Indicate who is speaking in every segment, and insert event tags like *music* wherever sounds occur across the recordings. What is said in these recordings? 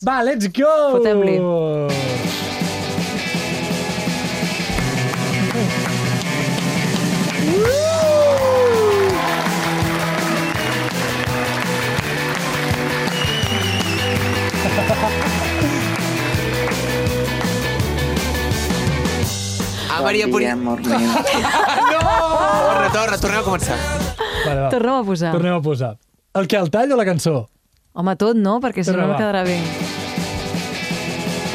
Speaker 1: Va, let's go!
Speaker 2: Fotem-li.
Speaker 3: Ah, Maria Purí.
Speaker 4: amor meu.
Speaker 3: Torna, torna, tornem a començar.
Speaker 1: Vale, va.
Speaker 2: Torna-ho a posar.
Speaker 1: Ah. Tornem a posar. El que, el tall o la cançó?
Speaker 2: Home, tot no, perquè si no
Speaker 1: Torna,
Speaker 2: no
Speaker 1: va.
Speaker 2: quedarà bé.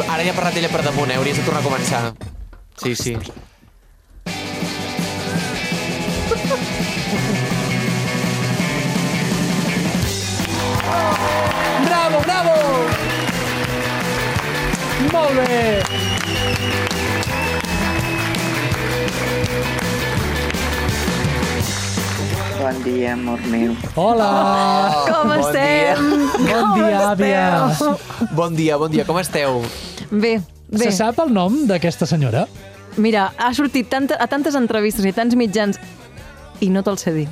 Speaker 3: Ara ja ha parlat ella per damunt, eh? Hauries de tornar a començar. Sí, sí.
Speaker 1: Bravo, bravo! Molt bé!
Speaker 4: Bon dia, amor meu.
Speaker 1: Hola!
Speaker 2: Com
Speaker 3: Oh, bon
Speaker 2: estem?
Speaker 1: Bon
Speaker 2: Oh. Com
Speaker 1: dia, àvia!
Speaker 2: esteu?
Speaker 3: Bon dia, bon dia, com esteu?
Speaker 2: Bé, bé.
Speaker 1: Se sap el nom d'aquesta senyora?
Speaker 2: Mira, ha sortit tanta, a tantes entrevistes i a tants mitjans i no te'l sé dir.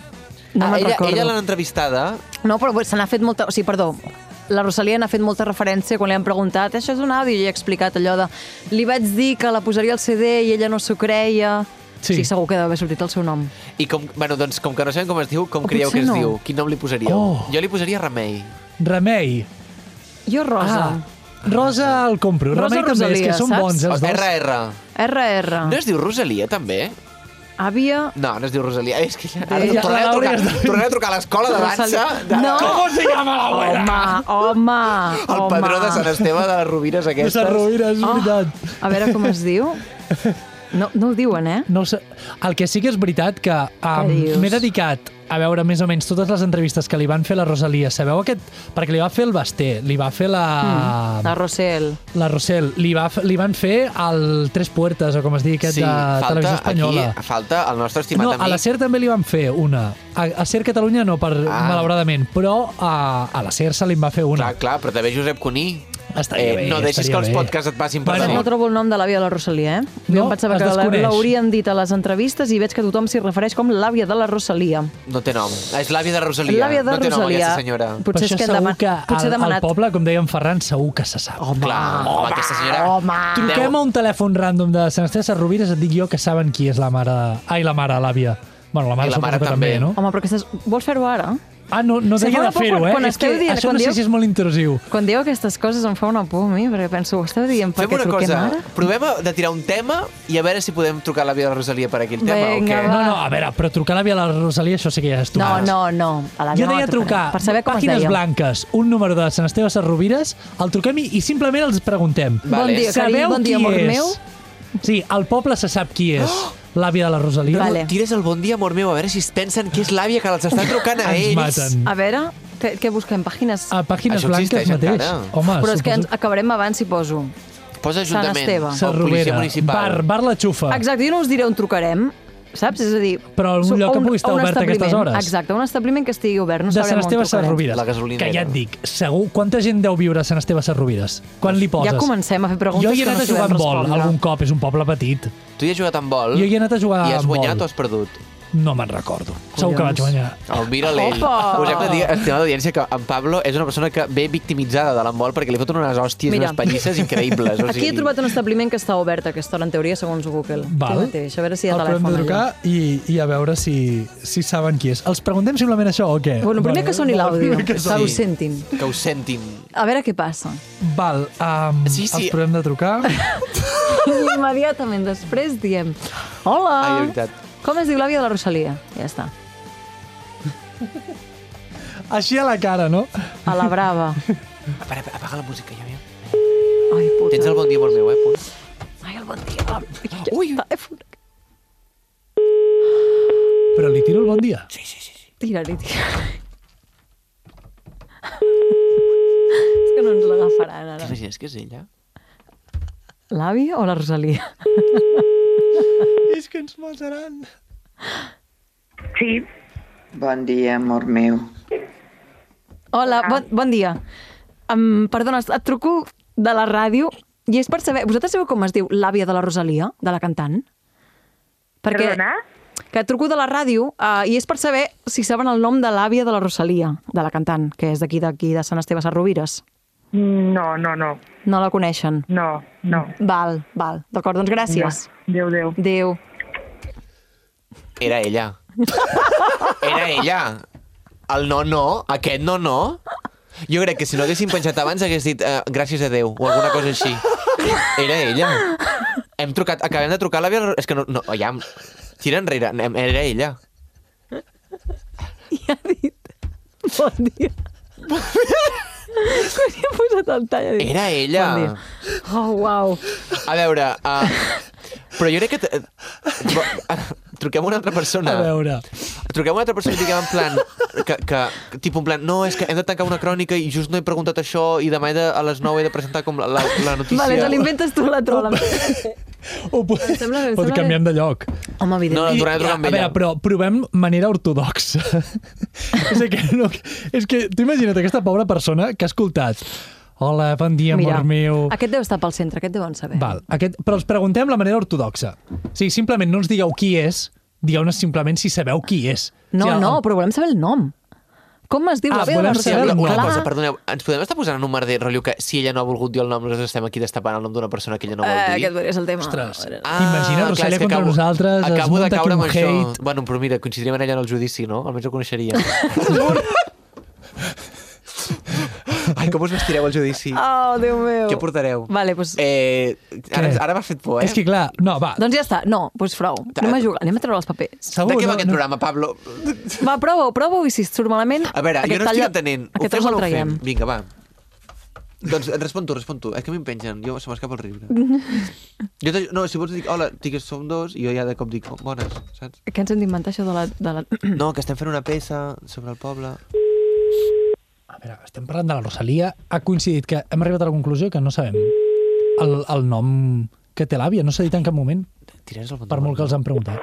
Speaker 2: No
Speaker 3: Ah,
Speaker 2: me'n
Speaker 3: ella
Speaker 2: recordo.
Speaker 3: ella l'han entrevistada.
Speaker 2: No, però se n'ha fet molta... O sigui, perdó, la Rosalia n'ha fet molta referència quan li han preguntat això és un àudio i ha explicat allò de li vaig dir que la posaria al CD i ella no s'ho creia.
Speaker 1: Sí.
Speaker 2: Sí. sí, segur que deu haver sortit el seu nom.
Speaker 3: I com, bueno, doncs, com que no sabem com es diu, com
Speaker 2: O
Speaker 3: creieu que
Speaker 2: potser
Speaker 3: es
Speaker 2: no.
Speaker 3: diu? Quin nom li posaríeu?
Speaker 1: Oh.
Speaker 3: Jo li posaria Remei.
Speaker 1: Remei.
Speaker 2: Jo, Rosa.
Speaker 1: Rosa el compro.
Speaker 2: Ah. Rosa
Speaker 1: Remei també, és
Speaker 2: Rosalia,
Speaker 1: que són
Speaker 2: saps?
Speaker 1: bons
Speaker 3: O
Speaker 1: els *laughs* dos.
Speaker 3: RR.
Speaker 2: Ah. RR.
Speaker 3: Oh, No es diu Rosalia, també?
Speaker 2: Àvia...
Speaker 3: No, no es diu Rosalia. És que ja... Ara,
Speaker 1: Ella-
Speaker 3: tornaré, a
Speaker 1: Laura
Speaker 3: trucar,
Speaker 1: és de-
Speaker 3: tornaré a trucar a l'escola de dansa.
Speaker 2: Rosalia.
Speaker 3: De...
Speaker 2: No.
Speaker 3: Com se llama la abuela?
Speaker 2: Home, home,
Speaker 3: El
Speaker 2: home.
Speaker 3: padró de Sant Esteve de les Rovires
Speaker 1: De
Speaker 3: aquestes.
Speaker 1: Sant Rovira, és veritat.
Speaker 2: Oh, a veure com es diu. No, no ho diuen, eh?
Speaker 1: No ho sé. El que sí que és veritat que um,
Speaker 2: dius?
Speaker 1: m'he dedicat a veure més o menys totes les entrevistes que li van fer a la Rosalia. Sabeu aquest... Perquè li va fer el Basté, li va fer la...
Speaker 2: Mm. La Rosel.
Speaker 1: La Rosel, li, va, f- li van fer el Tres Puertes, o com es digui aquest
Speaker 3: Sí,
Speaker 1: de Televisió
Speaker 3: falta
Speaker 1: Espanyola.
Speaker 3: aquí, falta el nostre estimat
Speaker 1: No,
Speaker 3: amic.
Speaker 1: a la SER també li van fer una. A, a SER Catalunya no, per, ah.
Speaker 3: Ah.
Speaker 1: malauradament, però a, a la SER se li en va fer una.
Speaker 3: Clar, clar, però també Josep Cuní. Eh,
Speaker 1: Estaria bé,
Speaker 3: no deixis
Speaker 1: estaria
Speaker 3: que els
Speaker 1: bé.
Speaker 3: podcasts et passin per
Speaker 1: Bueno,
Speaker 2: No
Speaker 3: damunt.
Speaker 2: trobo el nom de l'àvia de la Rosalia, eh?
Speaker 1: No,
Speaker 2: jo em pensava
Speaker 1: es
Speaker 2: que la-
Speaker 1: desconeix.
Speaker 2: l'haurien dit a les entrevistes i veig que tothom s'hi refereix com l'àvia de la Rosalia.
Speaker 3: No té nom. És l'àvia de Rosalia.
Speaker 2: L'àvia de
Speaker 3: no té nom,
Speaker 2: Rosalia.
Speaker 3: aquesta senyora.
Speaker 1: Potser
Speaker 2: Potser és
Speaker 1: això
Speaker 2: que,
Speaker 1: segur
Speaker 2: deman...
Speaker 1: que
Speaker 2: Potser
Speaker 1: al,
Speaker 2: ha
Speaker 1: al
Speaker 2: demanat...
Speaker 1: poble, com deia en Ferran, segur que se sap.
Speaker 3: Home, clar, home, aquesta senyora...
Speaker 2: home.
Speaker 1: Truquem a un telèfon random de Sant Esteve Sarrovires, et dic jo que saben qui és la mare... Ai, la mare, l'àvia. Bueno, la mare,
Speaker 3: I la mare
Speaker 1: suposo que també,
Speaker 3: també.
Speaker 1: no?
Speaker 2: Home, però aquestes... Vols fer-ho ara?
Speaker 1: Ah, no, no
Speaker 2: Se
Speaker 1: deia
Speaker 2: fa
Speaker 1: de
Speaker 2: una por
Speaker 1: fer-ho,
Speaker 2: quan-
Speaker 1: eh?
Speaker 2: quan
Speaker 1: És que
Speaker 2: esteu dient-
Speaker 1: això
Speaker 2: quan
Speaker 1: no sé
Speaker 2: dieu-
Speaker 1: si és molt intrusiu.
Speaker 2: Quan dieu aquestes coses em fa una por a mi, perquè penso, ho esteu dient
Speaker 3: Fem
Speaker 2: perquè
Speaker 3: una
Speaker 2: truquem
Speaker 3: cosa,
Speaker 2: ara?
Speaker 3: provem a- de tirar un tema i a veure si podem trucar a l'àvia de Rosalia per aquí el tema
Speaker 2: Vinga,
Speaker 3: o
Speaker 2: va.
Speaker 3: què.
Speaker 1: No, no, a veure, però trucar a l'àvia de la Rosalia, això sí que ja és tu.
Speaker 2: No, no, no. A la
Speaker 1: Jo
Speaker 2: no la
Speaker 1: deia
Speaker 2: trucarem,
Speaker 1: trucar
Speaker 2: Per saber com es
Speaker 1: pàgines
Speaker 2: deia.
Speaker 1: blanques, un número de Sant Esteve Sarrovires, el truquem i, i simplement els preguntem.
Speaker 2: Bon
Speaker 3: Vale.
Speaker 2: dia, carinyo,
Speaker 1: Sabeu
Speaker 2: bon dia,
Speaker 1: qui
Speaker 2: amor
Speaker 1: és?
Speaker 2: meu.
Speaker 1: Sí, el poble se sap qui
Speaker 2: *gasps*
Speaker 1: és. L'àvia de la Rosalia.
Speaker 2: Vale.
Speaker 3: Tires el bon dia, amor meu, a veure si es pensen que és l'àvia que els està trucant a
Speaker 1: Ens
Speaker 3: ells.
Speaker 1: maten.
Speaker 2: A veure, què, què busquem? Pàgines...
Speaker 1: A pàgines
Speaker 3: Això
Speaker 1: blanques
Speaker 3: existeix
Speaker 1: mateix.
Speaker 3: encara?
Speaker 1: Home,
Speaker 2: Però és que ens
Speaker 1: suposo...
Speaker 2: acabarem abans si poso.
Speaker 3: Posa
Speaker 2: Sant
Speaker 3: Ajuntament
Speaker 2: Esteve.
Speaker 3: o Policia
Speaker 1: Sarrovera,
Speaker 3: Municipal.
Speaker 1: bar, bar la xufa.
Speaker 2: Exacte, jo no us diré on trucarem, saps? És a dir...
Speaker 1: Ah. Però un
Speaker 2: so-
Speaker 1: lloc que
Speaker 2: o
Speaker 1: pugui estar
Speaker 2: o un
Speaker 1: obert a aquestes
Speaker 2: establiment.
Speaker 1: hores.
Speaker 2: Exacte, un establiment que estigui obert. No
Speaker 1: de Sant
Speaker 2: sabrem on
Speaker 1: Esteve
Speaker 2: trucarem.
Speaker 1: Sarrovires.
Speaker 3: La gasolinera.
Speaker 1: Que ja et dic, segur, quanta gent deu viure a Sant Esteve Sarrovires? Quan li poses?
Speaker 2: Ja comencem a fer preguntes
Speaker 1: Jo hi he
Speaker 2: que no
Speaker 1: anat a
Speaker 2: sabem
Speaker 1: jugar amb vol
Speaker 2: respondre.
Speaker 1: algun cop, és un poble petit.
Speaker 3: Tu hi has jugat amb vol?
Speaker 1: Jo hi he anat a jugar
Speaker 3: I has
Speaker 1: amb
Speaker 3: guanyat
Speaker 1: vol.
Speaker 3: o has perdut?
Speaker 1: No me'n recordo. Segur que vaig guanyar.
Speaker 3: El Oh, mira l'ell.
Speaker 2: Opa!
Speaker 3: Us hem de dir, estimada audiència, que en Pablo és una persona que ve victimitzada de l'embol perquè li foten unes hòsties,
Speaker 2: Mira.
Speaker 3: unes pallisses increïbles. O sigui...
Speaker 2: Aquí he trobat un establiment que està obert a aquesta hora, en teoria, segons Google.
Speaker 1: Val.
Speaker 2: Tu mateix, a veure si hi ha
Speaker 1: el podem
Speaker 2: telèfon. allà.
Speaker 1: trucar i, i a veure si, si saben qui és. Els preguntem simplement això o què?
Speaker 2: Bueno, primer que soni l'àudio,
Speaker 1: primer que
Speaker 2: que ho sentin.
Speaker 3: Que ho sentin.
Speaker 2: A veure què passa. *laughs*
Speaker 1: Val, um,
Speaker 3: Sí, sí.
Speaker 1: els provem de trucar. *laughs*
Speaker 2: Immediatament després diem Hola!
Speaker 3: Ai, de veritat.
Speaker 2: Com es diu l'àvia de la Rosalia? Ja està.
Speaker 1: Així a la cara, no?
Speaker 2: A la
Speaker 3: *laughs*
Speaker 2: brava.
Speaker 3: Para, apaga la música, ja, ja.
Speaker 2: Ai, puta.
Speaker 3: Tens el bon dia molt meu, eh, punt.
Speaker 2: Ai, el bon dia.
Speaker 3: Ui.
Speaker 1: Però li tiro el bon dia. Sí.
Speaker 2: Tira-li, *laughs* tira És que no ens l'agafaran ara.
Speaker 3: T'imagines que és ella?
Speaker 2: L'àvia o la Rosalia?
Speaker 1: És que ens mataran.
Speaker 5: Sí,
Speaker 4: Bon dia, amor meu.
Speaker 2: Hola, bon, bon dia. Um, perdona, et truco de la ràdio i és per saber... Vosaltres sabeu com es diu l'àvia de la Rosalia, de la cantant?
Speaker 5: perdona?
Speaker 2: Que et truco de la ràdio uh, i és per saber si saben el nom de l'àvia de la Rosalia, de la cantant, que és d'aquí d'aquí de Sant Esteve Sarrovires.
Speaker 5: No, no, no,
Speaker 2: No la coneixen.
Speaker 5: no, no.
Speaker 2: Val, val. D'acord, doncs gràcies.
Speaker 5: Adéu, adéu.
Speaker 2: Adéu.
Speaker 3: Era ella. Era ella. El no, no, aquest no, no. Jo crec que si no haguéssim penjat abans hagués dit eh, gràcies a Déu o alguna cosa així. Era ella. Hem trucat, acabem de trucar a l'àvia... És que no, no, ja... Tira enrere, anem- era ella.
Speaker 2: I ha dit... Bon dia. Quan hi ha posat el tall, ha dit...
Speaker 3: Era ella.
Speaker 2: Bon dia.
Speaker 3: Eh?
Speaker 2: Oh, uau.
Speaker 3: A veure, uh, però jo crec que... t- eh, bo- *laughs* ah, Truquem a una altra persona.
Speaker 1: A veure.
Speaker 3: Truquem a una altra persona i diguem en plan... Que, que, tipus en plan, no, és que hem de tancar una crònica i just no he preguntat això i demà he de, a les 9 he de presentar com la, la, la notícia.
Speaker 2: Vale, te l'inventes tu la trola.
Speaker 1: Ho pot,
Speaker 2: Em sembla bé, em
Speaker 1: pot
Speaker 2: sembla
Speaker 1: canviem de lloc.
Speaker 2: Home,
Speaker 3: No,
Speaker 2: evidentment.
Speaker 3: no, tornaré a trucar amb
Speaker 1: a
Speaker 3: ella.
Speaker 1: veure, però provem manera
Speaker 3: *laughs*
Speaker 1: ortodoxa. és que, no, és que tu imagina't aquesta pobra persona que ha escoltat Hola, bon dia, amor meu.
Speaker 2: aquest deu estar pel centre, aquest deuen saber.
Speaker 1: Val, aquest, però els preguntem la manera ortodoxa. O sigui, simplement no ens digueu qui és, digueu-nos simplement si sabeu qui és.
Speaker 2: No,
Speaker 1: o sigui,
Speaker 2: no, però volem saber el nom. Com es diu
Speaker 1: Ah,
Speaker 2: la veu de la
Speaker 1: volem
Speaker 3: Sí,
Speaker 1: saber
Speaker 2: Rosalia?
Speaker 3: una, una
Speaker 1: Clar.
Speaker 3: cosa, perdoneu, ens podem estar posant en un merder, rotllo, que si ella no ha volgut dir el nom, nosaltres estem aquí destapant el nom d'una persona que ella no vol
Speaker 2: Eh,
Speaker 3: dir?
Speaker 2: aquest podria ser el tema.
Speaker 1: Ostres,
Speaker 3: Ah,
Speaker 1: t'imagines
Speaker 3: clar, és
Speaker 1: Rosalia
Speaker 3: que
Speaker 1: contra nosaltres, es
Speaker 3: acabo de
Speaker 1: munta aquí
Speaker 3: caure
Speaker 1: un
Speaker 3: amb
Speaker 1: hate...
Speaker 3: això. Bueno, però mira, coincidiríem en ella en el judici, no? Almenys ho
Speaker 1: *laughs*
Speaker 3: coneixeria. Ai, com us vestireu al judici?
Speaker 2: Oh, Déu meu.
Speaker 3: Què portareu?
Speaker 2: Vale, doncs...
Speaker 3: Eh, ara,
Speaker 1: Què?
Speaker 3: ara m'has fet por, eh?
Speaker 1: És que clar, no, va,
Speaker 2: Doncs ja està. No, doncs prou. Anem a jugar, anem a treure els papers.
Speaker 1: segur...
Speaker 3: de què va
Speaker 1: no,
Speaker 3: aquest
Speaker 1: no,
Speaker 3: programa, Pablo?
Speaker 2: Va, prova-ho, prova-ho, i si surt malament...
Speaker 3: A veure,
Speaker 2: aquest
Speaker 3: jo no estic
Speaker 2: tall-
Speaker 3: entenent. Ho
Speaker 2: Aquest
Speaker 3: fem
Speaker 2: tros
Speaker 3: o
Speaker 2: el
Speaker 3: no ho
Speaker 2: traiem.
Speaker 3: fem? Vinga, va. Doncs respon tu, respon tu. És que a mi em pengen, jo se m'escapa el
Speaker 2: *laughs*
Speaker 3: riure. Jo t'aj- no, si vols dic, hola, dic que som dos, i jo ja de cop dic, "Oh, bones, saps?
Speaker 2: Què ens hem d'inventar, això de la... De la... *clears throat*
Speaker 3: No, que estem fent una peça sobre el poble.
Speaker 1: A veure, estem parlant de la Rosalia. Ha coincidit que hem arribat a la conclusió que no sabem el, el nom que té l'àvia. No s'ha dit en cap moment,
Speaker 3: Tires el botó.
Speaker 1: per molt que els han preguntat.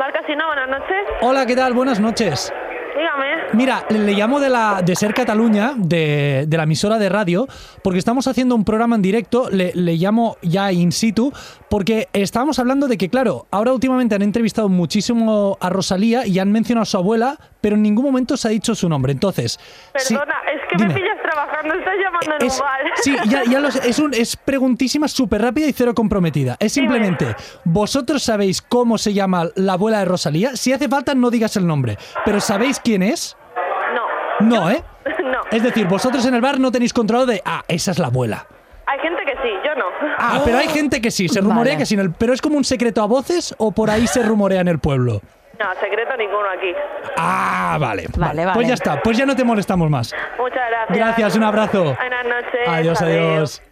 Speaker 6: Marca Sina, buenas noches.
Speaker 1: Hola, ¿qué tal? Buenas noches.
Speaker 6: Dígame.
Speaker 1: Mira, le, le llamo de la de Ser Cataluña, de, de la emisora de radio, porque estamos haciendo un programa en directo, le, le llamo ya in situ, porque estábamos hablando de que, claro, ahora últimamente han entrevistado muchísimo a Rosalía y han mencionado a su abuela, pero en ningún momento se ha dicho su nombre. Entonces, sí,
Speaker 6: Perdona, es que
Speaker 1: dime.
Speaker 6: me pillas trabajando, estás llamando en
Speaker 1: Es-
Speaker 6: un bar.
Speaker 1: sí, ya, ya lo sé, es, un- es preguntísima, súper rápida y cero comprometida. Es simplemente, ¿vosotros sabéis cómo se llama la abuela de Rosalía? Si hace falta, no digas el nombre, pero ¿sabéis quién es?
Speaker 6: *laughs* No, *laughs*
Speaker 1: No, ¿eh?
Speaker 6: no.
Speaker 1: Es decir, vosotros en el bar no tenéis control de, ah, esa es la abuela.
Speaker 6: Hay gente que sí, yo no.
Speaker 1: Ah, pero hay gente que sí, se rumorea
Speaker 2: Vale.
Speaker 1: que sí, en el- pero es como un secreto a voces o por ahí se rumorea en el pueblo.
Speaker 6: No, secreto ninguno aquí.
Speaker 1: Ah, vale.
Speaker 2: Vale, vale.
Speaker 1: Pues ya está, pues ya no te molestamos más.
Speaker 6: Muchas gracias.
Speaker 1: Gracias, un abrazo.
Speaker 6: Buenas noches.
Speaker 1: Adiós, adiós.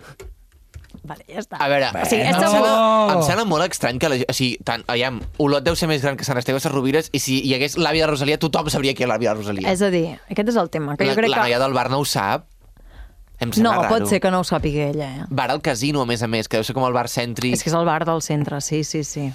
Speaker 2: Vale, ja està.
Speaker 3: A veure,
Speaker 2: Sí, és
Speaker 3: em,
Speaker 2: segur.
Speaker 3: sembla, em sembla molt estrany que la, o sigui, tant, aviam, Olot deu ser més gran que Sant Esteve Sarrovires i si hi hagués l'àvia de Rosalia, tothom sabria qui era l'àvia de Rosalia.
Speaker 2: És a dir, aquest és el tema, que
Speaker 3: la,
Speaker 2: jo crec
Speaker 3: la noia
Speaker 2: que...
Speaker 3: del bar no ho sap. Em
Speaker 2: No,
Speaker 3: sembla raro.
Speaker 2: pot ser que no ho sàpiga ella, eh?
Speaker 3: Bar al casino, a més a més, que deu ser com el bar cèntric.
Speaker 2: És que és el bar del centre, sí, sí, sí.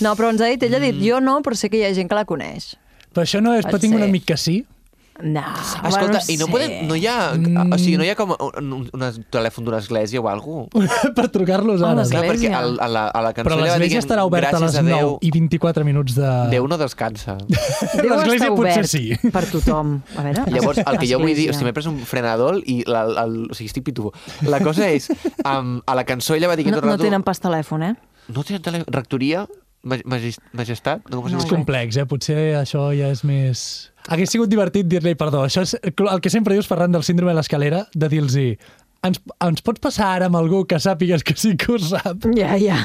Speaker 2: No, però ens ha dit, ella ha
Speaker 3: Mm.
Speaker 2: dit, jo no, però sé que hi ha gent que la coneix.
Speaker 1: Però això Pues no és,
Speaker 2: Pot
Speaker 1: però tinc un
Speaker 2: ser.
Speaker 1: amic que sí. *laughs*
Speaker 2: No,
Speaker 3: Escolta,
Speaker 2: bueno,
Speaker 3: i no,
Speaker 2: sé.
Speaker 3: podem, no hi ha... O sigui, no hi ha com un, un, un telèfon d'una església o alguna cosa?
Speaker 1: per trucar-los
Speaker 2: Ah,
Speaker 1: ara.
Speaker 2: les
Speaker 1: no?
Speaker 2: Església.
Speaker 3: perquè a, a, la, a la cançó
Speaker 1: Però
Speaker 3: allà
Speaker 1: l'església
Speaker 3: diguem,
Speaker 1: estarà oberta a les
Speaker 3: "Gràcies
Speaker 1: 9
Speaker 3: Déu,
Speaker 1: i 24 minuts de... *laughs*
Speaker 3: Déu no descansa.
Speaker 2: Déu
Speaker 1: L'església
Speaker 2: està
Speaker 1: potser
Speaker 2: obert
Speaker 1: sí.
Speaker 2: Per tothom. A veure,
Speaker 3: *laughs* Llavors, el que jo vull dir... O
Speaker 2: església.
Speaker 3: sigui, m'he pres un frenadol i... La, el, o sigui, estic pitufo. La cosa és, um, a la cançó ella va dir...
Speaker 2: no, no tenen pas telèfon, eh?
Speaker 3: No tenen telèfon. Rectoria? Ma- Magis, majestat? No, com es
Speaker 2: No.
Speaker 3: diu?
Speaker 1: És complex, eh? Potser això ja és més... Hagués sigut divertit dir-li perdó. Això és el que sempre dius, Ferran, del síndrome de l'escalera, de dir-los ens, ens pots passar ara amb algú que sàpigues que sí que ho sap?
Speaker 2: Ja, ja.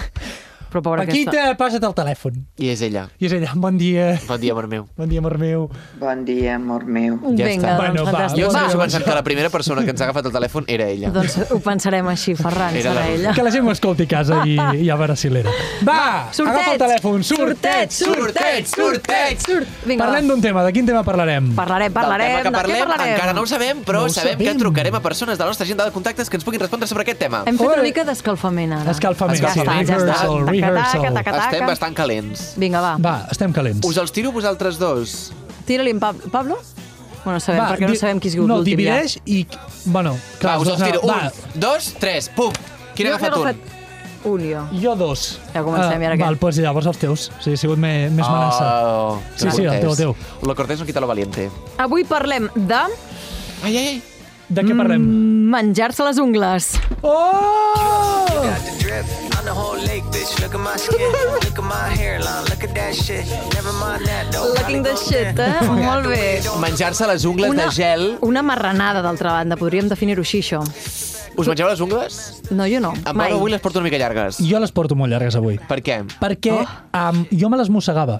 Speaker 2: Però pobra
Speaker 1: Aquí
Speaker 2: aquesta...
Speaker 1: te passa't el telèfon.
Speaker 3: I és ella.
Speaker 1: I és allà, bon dia,
Speaker 3: Bon dia, amor meu.
Speaker 1: bon dia, amor meu.
Speaker 4: Bon dia, amor meu.
Speaker 3: Ja
Speaker 2: Vinga,
Speaker 3: està.
Speaker 1: Bueno,
Speaker 2: doncs,
Speaker 1: va,
Speaker 2: fantàstic.
Speaker 3: Jo
Speaker 1: Bon
Speaker 3: segueixo
Speaker 1: dia,
Speaker 3: pensant que la primera persona que ens ha agafat el telèfon era ella.
Speaker 2: Doncs ho pensarem així, Ferran,
Speaker 3: Era
Speaker 2: serà
Speaker 3: la-
Speaker 2: ella.
Speaker 1: Que la gent ho escolti a casa i, i a veure si l'era. Va,
Speaker 2: Sorteig!
Speaker 1: agafa el telèfon, sorteig!
Speaker 3: sorteig, sorteig,
Speaker 2: sort... Vinga,
Speaker 1: Parlem d'un tema, de quin tema parlarem?
Speaker 2: Parlarem, parlarem.
Speaker 3: del tema
Speaker 2: de
Speaker 3: que
Speaker 2: què
Speaker 3: parlem,
Speaker 2: parlarem?
Speaker 3: encara no ho sabem, però
Speaker 1: No ho
Speaker 3: no sabem,
Speaker 1: sabem.
Speaker 3: que trucarem a persones de la nostra agenda de contactes que ens puguin respondre sobre aquest tema.
Speaker 2: Hem fet
Speaker 1: Ui.
Speaker 2: una mica d'escalfament, ara.
Speaker 1: Escalfament,
Speaker 2: ja
Speaker 3: sí,
Speaker 2: està, ja
Speaker 3: rehearsal,
Speaker 2: està. Taca, taca,
Speaker 1: rehearsal.
Speaker 2: taca, taca.
Speaker 3: Estem bastant calents.
Speaker 2: Vinga, va.
Speaker 1: Va, estem calents.
Speaker 3: Us els tiro vosaltres dos.
Speaker 2: Tira-li en pa Pablo? Bueno, sabem, perquè no
Speaker 1: di-
Speaker 2: sabem qui ha sigut
Speaker 1: no,
Speaker 2: l'últim ja.
Speaker 1: divideix i... Bueno,
Speaker 3: Clar,
Speaker 1: clar,
Speaker 3: va, us
Speaker 1: els
Speaker 3: els
Speaker 1: dos-
Speaker 3: tiro.
Speaker 1: Va,
Speaker 3: Un, dos, tres, pum. Qui
Speaker 2: Jo
Speaker 3: n'ha agafat
Speaker 2: he
Speaker 3: un?
Speaker 2: Un jo.
Speaker 1: Jo dos.
Speaker 2: Ja comencem, i ara què?
Speaker 1: Val, doncs llavors els teus. Sí, ha sigut me, més oh. manassa.
Speaker 3: Oh,
Speaker 1: Sí, sí, el teu, el teu.
Speaker 3: Lo cortés no quita lo valiente.
Speaker 2: Avui parlem de...
Speaker 3: Ai, ai, ai.
Speaker 1: de
Speaker 2: Mm.
Speaker 1: què parlem?
Speaker 2: Menjar-se les ungles.
Speaker 1: Oh!
Speaker 7: drip. I'm the whole lake, bitch. Look at my skin. Look at my hairline. Look at that shit. Never mind that, though.
Speaker 2: Looking the shit, eh? Molt bé.
Speaker 3: Menjar-se les ungles de gel.
Speaker 2: una marranada, d'altra banda. Podríem definir-ho així, això.
Speaker 3: Us mengeu les ungles?
Speaker 2: No, jo no.
Speaker 3: Em
Speaker 2: Mai.
Speaker 3: pare avui les porto una mica llargues.
Speaker 1: Jo les porto molt llargues avui.
Speaker 3: Per què?
Speaker 1: Perquè
Speaker 2: Oh.
Speaker 1: um, jo me les mossegava.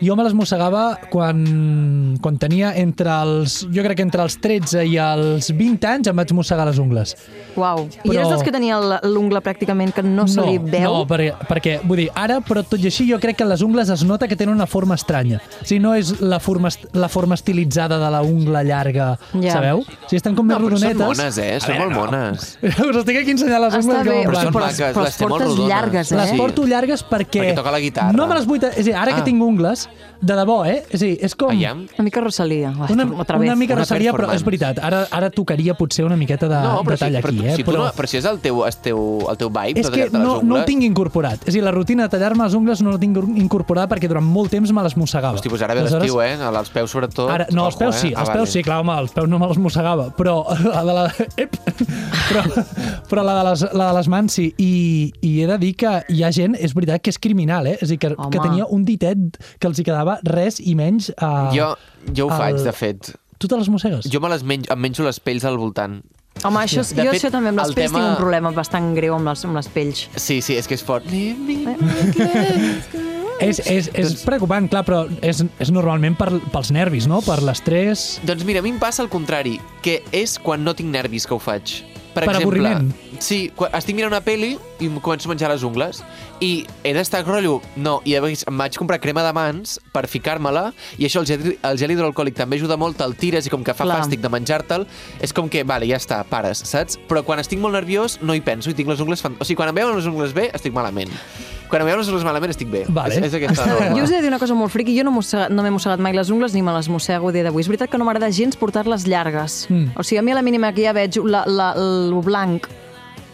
Speaker 1: Jo me les mossegava quan, quan tenia entre els... Jo crec que entre els 13 i els 20 anys em vaig mossegar les ungles.
Speaker 2: Uau. I
Speaker 1: Però-
Speaker 2: eres dels que tenia l- l'ungla pràcticament que no se li veu?
Speaker 1: no perquè, perquè, vull dir, ara, però tot i així, jo crec que les ungles es nota que tenen una forma estranya. O sigui, no és la forma, est- la forma estilitzada de la ungla llarga,
Speaker 2: Ja.
Speaker 1: sabeu? O sigui, estan com més
Speaker 3: No, però són
Speaker 1: rodonetes.
Speaker 3: mones, eh? Són molt mones.
Speaker 1: Us estic aquí ensenyant les ungles.
Speaker 2: Està bé,
Speaker 1: com
Speaker 3: Però
Speaker 1: van.
Speaker 3: són
Speaker 2: però, les-
Speaker 3: maques,
Speaker 2: però
Speaker 3: les
Speaker 2: les
Speaker 3: té molt
Speaker 2: portes
Speaker 3: rodones.
Speaker 2: llargues, eh?
Speaker 1: Les
Speaker 3: Sí.
Speaker 1: porto llargues perquè...
Speaker 3: Perquè toca la guitarra.
Speaker 1: No me les vull... ta- És a dir, ara
Speaker 3: Ah.
Speaker 1: que tinc ungles, de debò, eh? És a dir, és com...
Speaker 3: Aviam.
Speaker 2: Una mica Rosalia. Uah,
Speaker 1: Una,
Speaker 2: otra vez.
Speaker 1: una mica
Speaker 3: Una
Speaker 1: rosaria, però és
Speaker 3: performance.
Speaker 1: veritat. Ara, ara tocaria potser una miqueta de,
Speaker 3: No, però,
Speaker 1: de tall
Speaker 3: si,
Speaker 1: aquí,
Speaker 3: però, tu-
Speaker 1: eh?
Speaker 3: si tu no, però si és el teu, el teu, el teu vibe,
Speaker 1: és
Speaker 3: de
Speaker 1: que no,
Speaker 3: tallar-te les ungles...
Speaker 1: no ho tinc incorporat. És a dir, la rutina de tallar-me les ungles no la tinc incorporada perquè durant molt temps me les mossegava.
Speaker 3: Hosti, pues ara ve
Speaker 1: Aleshores,
Speaker 3: l'estiu, eh? Els peus, sobretot.
Speaker 1: Ara, no, els
Speaker 3: Ojo,
Speaker 1: peus
Speaker 3: eh?
Speaker 1: sí,
Speaker 3: Ah,
Speaker 1: els
Speaker 3: vale.
Speaker 1: peus sí, clar, home, els peus no me les mossegava, però la de la... Ep! Però, però la, de les, la de les mans sí, i, i he de dir que hi ha gent, és veritat, que és criminal, eh? És a dir, que,
Speaker 2: Home.
Speaker 1: que tenia un ditet que els hi quedava res i menys... A,
Speaker 3: Jo, jo ho
Speaker 1: al-
Speaker 3: faig, de fet.
Speaker 1: Tu te les mossegues?
Speaker 3: Jo me les menjo, em menjo les pells al voltant.
Speaker 2: Home, això,
Speaker 3: De
Speaker 2: jo
Speaker 3: fet,
Speaker 2: això també amb les
Speaker 3: el
Speaker 2: pells
Speaker 3: tema-
Speaker 2: tinc un problema bastant greu amb les, amb les pells.
Speaker 3: Sí, sí, és que és fort.
Speaker 1: És, és, és
Speaker 3: Doncs-
Speaker 1: preocupant, clar, però és, és normalment per, pels nervis, no? Per l'estrès...
Speaker 3: Doncs mira, a mi em passa el contrari, que és quan no tinc nervis que ho faig.
Speaker 1: Per
Speaker 3: Per, exemple,
Speaker 1: avorriment.
Speaker 3: Sí, quan estic mirant una pel·li i em començo a menjar les ungles i he d'estar rotllo, no, i llavors em vaig comprar crema de mans per ficar-me-la i això el gel, el gel hidroalcohòlic també ajuda molt, te'l tires i com que fa
Speaker 2: Clar.
Speaker 3: Clar. fàstic de menjar-te'l, és com que, vale, ja està, pares, saps? Però quan estic molt nerviós no hi penso i tinc les ungles... Fan... O sigui, quan em veuen les ungles bé, estic malament. Quan em veuen les ungles malament, estic bé.
Speaker 1: Vale.
Speaker 3: És, és aquesta
Speaker 1: Està bé.
Speaker 3: norma.
Speaker 2: Jo us he de dir una cosa molt friqui, jo no, mossega, no m'he mossegat mai les ungles ni me les mossego a dia d'avui. És veritat que no m'agrada gens portar-les llargues.
Speaker 1: Mm.
Speaker 2: O sigui, a mi a la mínima que ja veig la, la, lo blanc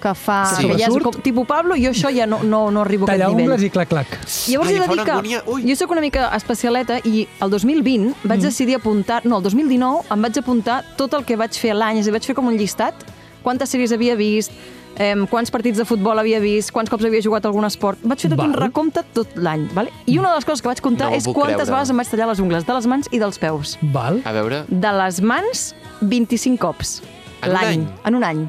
Speaker 2: que fa...
Speaker 3: Sí.
Speaker 2: Que ja és
Speaker 1: Sobresurt.
Speaker 2: com, tipus Pablo, jo això ja no, no, no arribo a
Speaker 1: Tallar
Speaker 2: aquest nivell.
Speaker 1: ungles i clac-clac.
Speaker 2: Llavors
Speaker 3: Ai,
Speaker 2: he de
Speaker 3: em fa
Speaker 2: dir
Speaker 3: una
Speaker 2: que
Speaker 3: angúnia. Ui. Mm.
Speaker 2: jo sóc una mica especialeta i el 2020 vaig decidir apuntar... No, el 2019 em vaig apuntar tot el que vaig fer a l'any. És a dir, vaig fer com un llistat. Quantes sèries havia vist, eh, quants partits de futbol havia vist, quants cops havia jugat a algun esport. Vaig fer tot un
Speaker 1: Val.
Speaker 2: recompte tot l'any. Vale? I una de les coses que vaig comptar
Speaker 3: No ho
Speaker 2: és
Speaker 3: puc
Speaker 2: quantes
Speaker 3: creure.
Speaker 2: vegades em vaig tallar les ungles, de les mans i dels peus.
Speaker 1: Val.
Speaker 3: A veure...
Speaker 2: De les mans, 25 cops.
Speaker 3: En un
Speaker 2: l'any,
Speaker 3: any? Ah.
Speaker 2: En un any.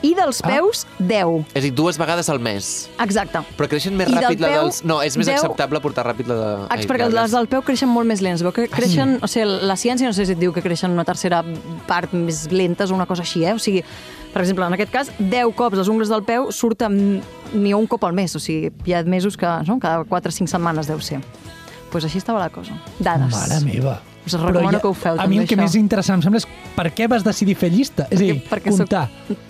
Speaker 2: I dels peus, 10.
Speaker 3: És a dir, dues vegades al mes.
Speaker 2: Exacte.
Speaker 3: Però creixen més
Speaker 2: I del
Speaker 3: ràpid la
Speaker 2: peu,
Speaker 3: dels... No, és més
Speaker 2: deu-
Speaker 3: acceptable portar ràpid la de...
Speaker 2: Ai, perquè les del peu creixen molt més lents. Veu
Speaker 3: Ah,
Speaker 2: que creixen, o sigui, la ciència no sé si et diu que creixen una tercera part més lentes o una cosa així, eh? O sigui, per exemple, en aquest cas, 10 cops les ungles del peu surten ni un cop al mes, o sigui, hi ha mesos que, no? cada 4 o 5 setmanes deu ser. Doncs pues així estava la cosa. Dades.
Speaker 1: Mare meva.
Speaker 2: Us recomano que ho feu,
Speaker 1: A mi
Speaker 2: també,
Speaker 1: el que
Speaker 2: això.
Speaker 1: més interessant em sembla és per què vas decidir fer llista. És a dir,
Speaker 2: soc-
Speaker 1: comptar.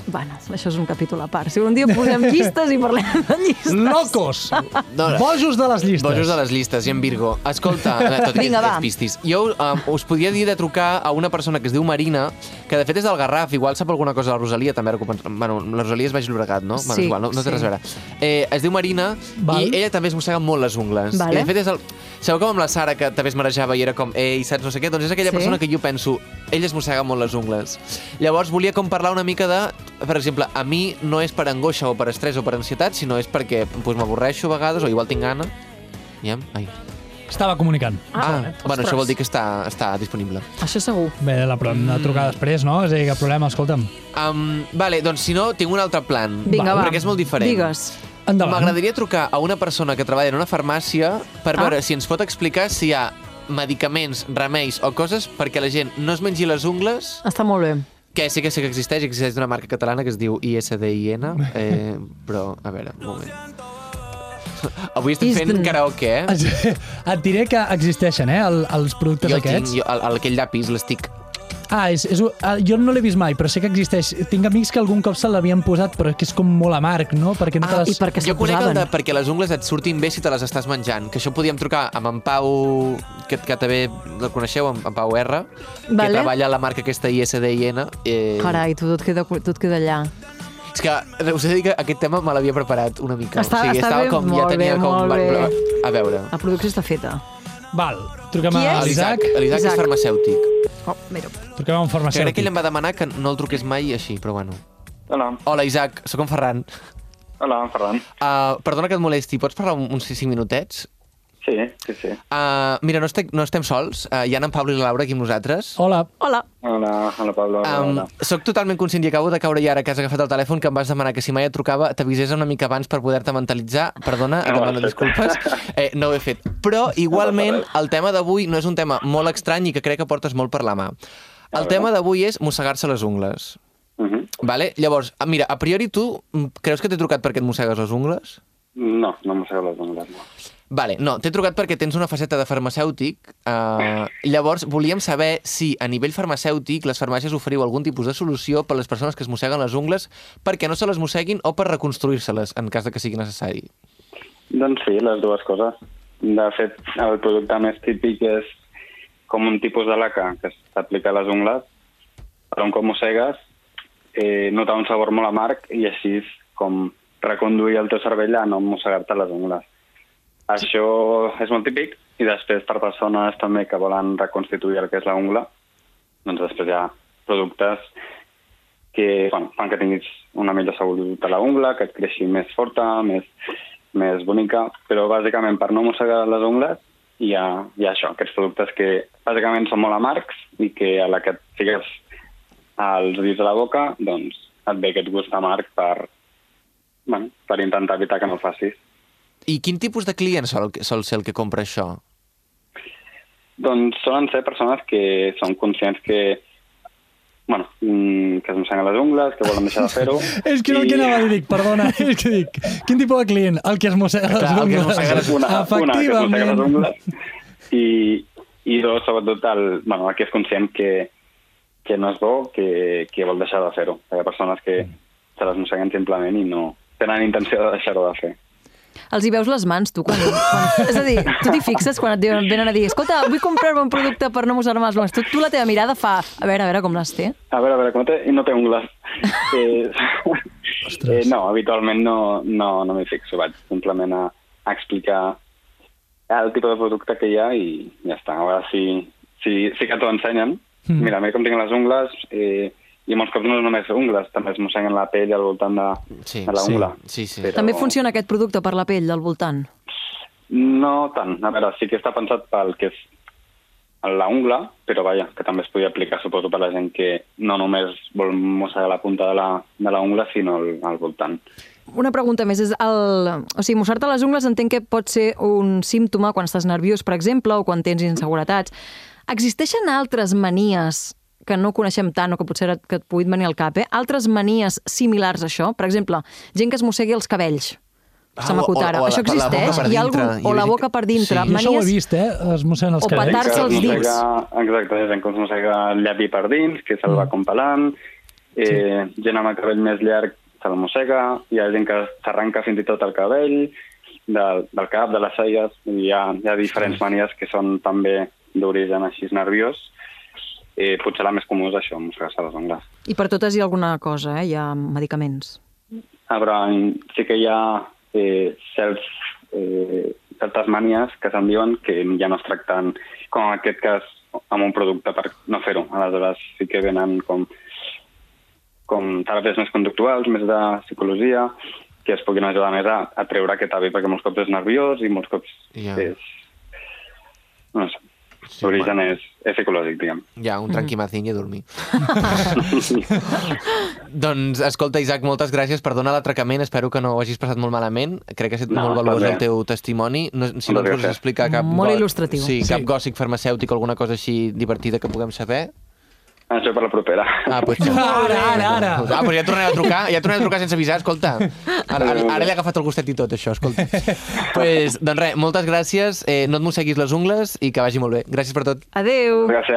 Speaker 2: Bueno, això és un capítol a part. Si un dia
Speaker 3: *laughs*
Speaker 2: posem llistes i parlem de llistes...
Speaker 1: Locos!
Speaker 3: No, no.
Speaker 1: Bojos de les llistes.
Speaker 3: Bojos de les llistes i en Virgo. Escolta, eh, tot
Speaker 2: Vinga,
Speaker 3: i Vinga,
Speaker 2: va.
Speaker 3: que és pistis. Jo um, us podia dir de trucar a una persona que es diu Marina, que de fet és del Garraf, igual sap alguna cosa de la Rosalia, també ara que ho penso- Bueno, la Rosalia és Baix Llobregat, no? bueno,
Speaker 2: Sí,
Speaker 3: és igual, no, no té
Speaker 2: sí.
Speaker 3: res a veure. Eh, es diu Marina
Speaker 1: Val.
Speaker 3: i ella també es mossega molt les ungles.
Speaker 2: Vale.
Speaker 3: I de fet és el... Sabeu com amb la Sara, que també es marejava i era com, ei, saps no sé què? Doncs és aquella
Speaker 2: Sí.
Speaker 3: sí. persona que jo penso, ell es mossega molt les ungles. Llavors volia com parlar una mica de, per exemple, a mi no és per angoixa o per estrès o per ansietat, sinó és perquè doncs, m'avorreixo a vegades o igual tinc gana. Ja? Ai.
Speaker 1: Estava comunicant.
Speaker 3: Ah, ah
Speaker 2: ostres.
Speaker 3: bueno, això vol dir que està, està disponible.
Speaker 2: Això segur.
Speaker 1: Bé, la, pro- la trucar després, no? És a dir, cap problema, escolta'm.
Speaker 3: Um, vale, doncs si no, tinc un altre plan.
Speaker 2: Vinga, va.
Speaker 3: Perquè és molt diferent.
Speaker 2: Digues.
Speaker 1: Endavant.
Speaker 3: M'agradaria trucar a una persona que treballa en una farmàcia
Speaker 2: Ah.
Speaker 3: per ah. veure si ens pot explicar si hi ha medicaments, remeis o coses perquè la gent no es mengi les ungles,
Speaker 2: Està molt bé.
Speaker 3: que sí que sé que existeix, existeix d'una marca catalana que es diu ISDIN, eh,
Speaker 1: *laughs*
Speaker 3: però, a veure, un moment. Avui estem fent
Speaker 2: Isdin.
Speaker 3: karaoke, eh?
Speaker 1: *laughs* Et diré que existeixen, eh, el, els productes
Speaker 3: Jo el tinc,
Speaker 1: aquests.
Speaker 3: jo, el, el- aquell llapis l'estic...
Speaker 1: Ah, és, és, un- ah, jo no l'he vist mai, però sé que existeix. Tinc amics que algun cop se l'havien posat, però és que és com molt amarg, no? Perquè no te
Speaker 3: Ah,
Speaker 1: les...
Speaker 2: I perquè
Speaker 3: jo
Speaker 2: se'n
Speaker 3: conec el
Speaker 2: posaven.
Speaker 3: de perquè les ungles et surtin bé si te les estàs menjant, que això podíem trucar amb en Pau, que, que també el coneixeu, en, en Pau R,
Speaker 2: Vale.
Speaker 3: que treballa a la marca aquesta ISDIN. Eh,
Speaker 2: Carai, tu tot queda, tot queda allà.
Speaker 3: És que eh, us he de dir que aquest tema me l'havia preparat una mica.
Speaker 2: Està- està
Speaker 3: estava
Speaker 2: bé,
Speaker 3: com,
Speaker 2: molt
Speaker 3: ja tenia
Speaker 2: bé,
Speaker 3: com...
Speaker 2: molt
Speaker 3: va-
Speaker 2: bé.
Speaker 3: va- A veure.
Speaker 2: La producció està feta.
Speaker 1: Val, truquem
Speaker 2: Qui
Speaker 1: a
Speaker 2: és?
Speaker 1: l'Isaac.
Speaker 3: L'Isaac
Speaker 2: Isaac.
Speaker 3: és farmacèutic.
Speaker 2: Oh, mira.
Speaker 1: Perquè va un
Speaker 3: Que crec que ell
Speaker 1: farmacèutic.
Speaker 3: em va demanar que no el truqués mai així, però bueno.
Speaker 8: Hola,
Speaker 3: Hola, Isaac, sóc en Ferran.
Speaker 8: hola, en Ferran.
Speaker 3: Uh, perdona que et molesti, pots parlar un- uns 5 minutets?
Speaker 8: Sí, sí, sí.
Speaker 3: Uh, mira, no, estic, no estem sols. Uh, hi ha en Pablo i la Laura aquí amb nosaltres.
Speaker 1: Hola.
Speaker 2: Hola.
Speaker 8: Hola, hola, Pablo. Hola,
Speaker 3: Um,
Speaker 8: hola.
Speaker 3: soc totalment conscient i acabo de caure i ara que has agafat el telèfon que em vas demanar que si mai et trucava t'avisés una mica abans per poder-te mentalitzar. Perdona,
Speaker 8: No
Speaker 3: no
Speaker 8: ho
Speaker 3: demano
Speaker 8: has fet.
Speaker 3: *laughs* disculpes. Eh, no ho he fet. Però, igualment, el tema d'avui no és un tema molt estrany i que crec que portes molt per la mà. El tema d'avui és mossegar-se les ungles.
Speaker 8: Uh -huh.
Speaker 3: Vale? Llavors, ah, mira, a priori tu mm, creus que t'he trucat perquè et mossegues les ungles?
Speaker 8: No, no mossego les ungles. No.
Speaker 3: Vale, no, t'he trucat perquè tens una faceta de farmacèutic. Eh, llavors, volíem saber si a nivell farmacèutic les farmàcies oferiu algun tipus de solució per a les persones que es mosseguen les ungles perquè no se les mosseguin o per reconstruir-se-les en cas de que sigui necessari.
Speaker 8: Doncs sí, les dues coses. De fet, el producte més típic és com un tipus de laca que s'aplica a les ungles, però un cop mossegues eh, nota un sabor molt amarg i així és com reconduir el teu cervell a no mossegar-te les ungles. Això és molt típic i després per persones també que volen reconstituir el que és la ungla, doncs després hi ha productes que bueno, fan que tinguis una millor salut de la ungla, que et creixi més forta, més, més bonica, però bàsicament per no mossegar les ungles hi ha, hi ha això, aquests productes que bàsicament són molt amargs i que a la que et fiques als dits de la boca, doncs et ve aquest gust amarg per, bueno, per intentar evitar que no ho facis.
Speaker 3: I quin tipus de client sol, sol ser el que compra això?
Speaker 8: Doncs solen ser persones que són conscients que bueno, mm, que es mosseguen les ungles, que volen deixar de fer-ho.
Speaker 1: *laughs* És que era el que anava a dir,
Speaker 3: *laughs*
Speaker 1: perdona. És que dic, quin tipus de client? El que es mossega les *laughs*
Speaker 3: Clar, el que es mossega
Speaker 1: ungles.
Speaker 3: les-
Speaker 8: una, una que es mossega les
Speaker 1: Efectivament.
Speaker 8: ungles i, i dos, sobretot, el, bueno, el que és conscient que, que no és bo, que, que vol deixar de fer-ho. Hi ha persones que se les mosseguen simplement i no tenen intenció de deixar-ho de fer.
Speaker 2: Els hi veus les mans, tu, quan... quan... És a dir, tu t'hi fixes quan et diuen- venen a dir escolta, vull comprar-me un producte per no mossegar-me les mans. Tu, tu la teva mirada fa, a veure, a veure com les té.
Speaker 8: A veure, a veure, com té... I no té
Speaker 2: *laughs*
Speaker 8: ungles. Eh, eh, no, habitualment no, no, no m'hi fixo, vaig simplement a, a explicar eh, el tipus de producte que hi ha i ja està. A veure si, si, si que t'ho ensenyen.
Speaker 2: Hmm.
Speaker 8: Mm. Mira, mira com tinc les ungles eh, i molts cops no és només ungles, també es mosseguen la pell al voltant de,
Speaker 3: Sí,
Speaker 8: de la
Speaker 3: sí,
Speaker 8: ungla.
Speaker 3: sí, sí.
Speaker 8: Però
Speaker 2: També funciona aquest producte per la pell del voltant.
Speaker 8: No tant. A veure, sí que està pensat pel que és la ungla, però vaja, que també es podia aplicar, suposo, per la gent que no només vol mossegar la punta de la, de la ungla, sinó al, al voltant.
Speaker 2: Una pregunta més és el... O sigui, mossar-te les ungles entenc que pot ser un símptoma quan estàs nerviós, per exemple, o quan tens inseguretats. Existeixen altres manies que no coneixem tant o que potser et- que et puguin venir al cap, eh? Altres manies similars a això? Per exemple, gent que es mossegui els cabells.
Speaker 3: Ah,
Speaker 2: Se m'acut
Speaker 3: o- o-
Speaker 2: ara.
Speaker 3: o la-
Speaker 2: Això
Speaker 3: per la boca
Speaker 2: existeix?
Speaker 3: per
Speaker 2: Hi ha
Speaker 3: dintre.
Speaker 2: algun... O
Speaker 3: Hi ha
Speaker 2: la
Speaker 3: gent
Speaker 2: boca
Speaker 3: que-
Speaker 2: per
Speaker 1: I
Speaker 2: dintre.
Speaker 1: això ho he
Speaker 2: Manies...
Speaker 1: vist, eh? Es mosseguen els
Speaker 2: O
Speaker 1: cabells.
Speaker 2: petar-se
Speaker 8: Que
Speaker 2: els
Speaker 8: es
Speaker 2: dits.
Speaker 8: mossega- Exacte, hi ha gent que es mossega el llavi per dins, que se'l va com pelant, eh, gent amb el cabell més llarg se'l mossega, hi ha gent que s'arranca fins i tot el cabell, del, del cap, de les celles, hi ha, hi ha diferents manies que són també d'origen així nerviós, eh, potser la més comú és això, mossegar-se les ungles.
Speaker 2: I per totes hi ha alguna cosa, eh? Hi ha medicaments.
Speaker 8: Ah, però en- sí que hi ha eh, certs, eh, certes manies que se'n diuen que ja no es tracten, com en aquest cas, amb un producte per no fer-ho. Aleshores sí que venen com, com teràpies més conductuals, més de psicologia, que es puguin ajudar més a, a treure aquest avi, perquè molts cops és nerviós i molts cops
Speaker 3: Ja.
Speaker 8: és... No sé, l'origen és, és psicològic, diguem. *laughs*
Speaker 3: Ja, un tranquimacín i a dormir. doncs, escolta, Isaac, moltes gràcies. Perdona l'atracament, espero que no ho hagis passat molt malament. Crec que ha estat
Speaker 8: No,
Speaker 3: molt
Speaker 8: està
Speaker 3: valuós
Speaker 8: bé.
Speaker 3: el teu testimoni. No, si no ens
Speaker 8: Moltes
Speaker 3: vols
Speaker 8: gràcies.
Speaker 3: explicar cap...
Speaker 2: Molt
Speaker 3: go-
Speaker 2: il·lustratiu.
Speaker 3: Sí,
Speaker 1: Sí.
Speaker 3: cap gòssic farmacèutic, alguna cosa així divertida que puguem saber.
Speaker 8: Això per la propera.
Speaker 3: Ah, pues,
Speaker 1: Ara, ara, ara.
Speaker 3: Ah, però ja tornaré a trucar, ja tornaré a trucar sense avisar, escolta. Ara, ara, ara li ha agafat el gustet i tot, això, escolta. pues, doncs res, moltes gràcies, eh, no et mosseguis les ungles i que vagi molt bé. Gràcies per tot.
Speaker 2: Adeu!
Speaker 8: Gràcies,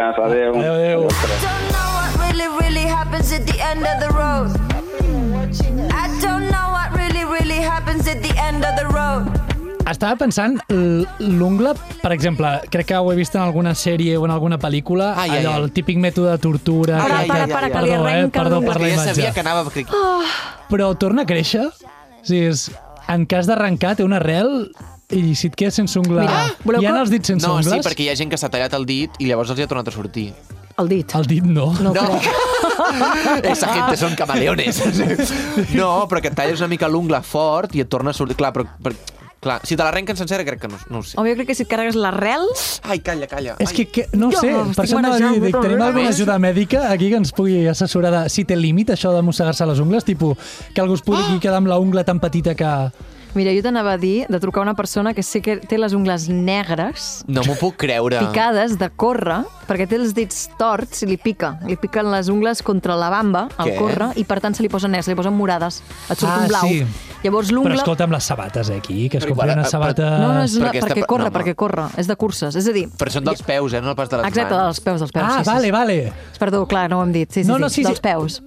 Speaker 1: Adéu,
Speaker 8: adeu.
Speaker 1: adéu.
Speaker 9: don't know what really, really happens at the end of the road. I don't know what really, really happens at the end of the road.
Speaker 1: Estava pensant, l- l'ungla, per exemple, crec que ho he vist en alguna sèrie o en alguna pel·lícula,
Speaker 3: Ai, ai,
Speaker 1: allò,
Speaker 3: ai.
Speaker 1: el típic mètode de tortura... que-
Speaker 2: Para,
Speaker 3: Ai, ai,
Speaker 2: para,
Speaker 3: ai,
Speaker 2: para,
Speaker 3: ai,
Speaker 2: que li
Speaker 1: Perdó, eh?
Speaker 2: arrenca
Speaker 1: Perdó per la
Speaker 3: Perquè ja
Speaker 1: imatge.
Speaker 3: sabia que anava... Oh.
Speaker 1: Però torna a créixer? O sigui, és, en cas d'arrencar, té una arrel i si et quedes sense ungla...
Speaker 2: Mira, voleu
Speaker 1: hi ha
Speaker 2: que-
Speaker 1: els dits sense
Speaker 3: No,
Speaker 1: ungles?
Speaker 3: sí, perquè hi ha gent que s'ha tallat el dit i llavors els hi ha tornat a sortir.
Speaker 2: El dit.
Speaker 1: Al dit no.
Speaker 2: No,
Speaker 3: No.
Speaker 2: crec.
Speaker 3: *laughs* Esa gente
Speaker 1: *laughs*
Speaker 3: son camaleones. No, però que et talles una mica l'ungla fort i et torna a sortir... Clar, però, però clar, si te l'arrenquen sencera crec que no, no ho sé.
Speaker 2: Home, jo crec que si et carregues l'arrel...
Speaker 3: Ai, calla, calla.
Speaker 1: És que, que no ho
Speaker 2: Jo
Speaker 1: sé,
Speaker 2: m'estic
Speaker 1: per això anava a
Speaker 2: marejant,
Speaker 1: dir, dic,
Speaker 2: però
Speaker 1: tenim
Speaker 2: mira,
Speaker 1: alguna
Speaker 2: ves.
Speaker 1: ajuda mèdica aquí que ens pugui assessorar de si té límit això de mossegar-se les ungles, tipus que algú es
Speaker 2: Ah!
Speaker 1: pugui quedar amb la ungla tan petita que...
Speaker 2: Mira, jo t'anava a dir de trucar a una persona que sé que té les ungles negres,
Speaker 3: No m'ho puc creure.
Speaker 2: picades, de córrer, perquè té els dits torts i li pica. Li piquen les ungles contra la bamba, al
Speaker 3: Què?
Speaker 2: córrer, i per tant se li posen negres, se li posen morades, et surt
Speaker 1: Ah,
Speaker 2: un blau.
Speaker 1: sí.
Speaker 2: Llavors
Speaker 1: Però
Speaker 2: l'ungla...
Speaker 1: escolta, amb les sabates eh, aquí, que es
Speaker 3: Però
Speaker 1: compren
Speaker 3: igual,
Speaker 1: una
Speaker 3: eh,
Speaker 1: sabata...
Speaker 2: No, no, és
Speaker 3: Però
Speaker 2: una...
Speaker 3: aquesta-
Speaker 2: perquè corre,
Speaker 3: no, no.
Speaker 2: perquè corre. És de curses. És a dir,
Speaker 3: Però són dels peus, eh? No pas de les
Speaker 2: exacte,
Speaker 3: mans.
Speaker 2: dels peus, dels peus.
Speaker 1: Ah,
Speaker 2: sí, sí,
Speaker 1: vale,
Speaker 2: sí.
Speaker 1: vale.
Speaker 2: Perdó, clar, no ho hem dit. Sí, sí,
Speaker 1: No, no, sí, sí.
Speaker 2: dels peus.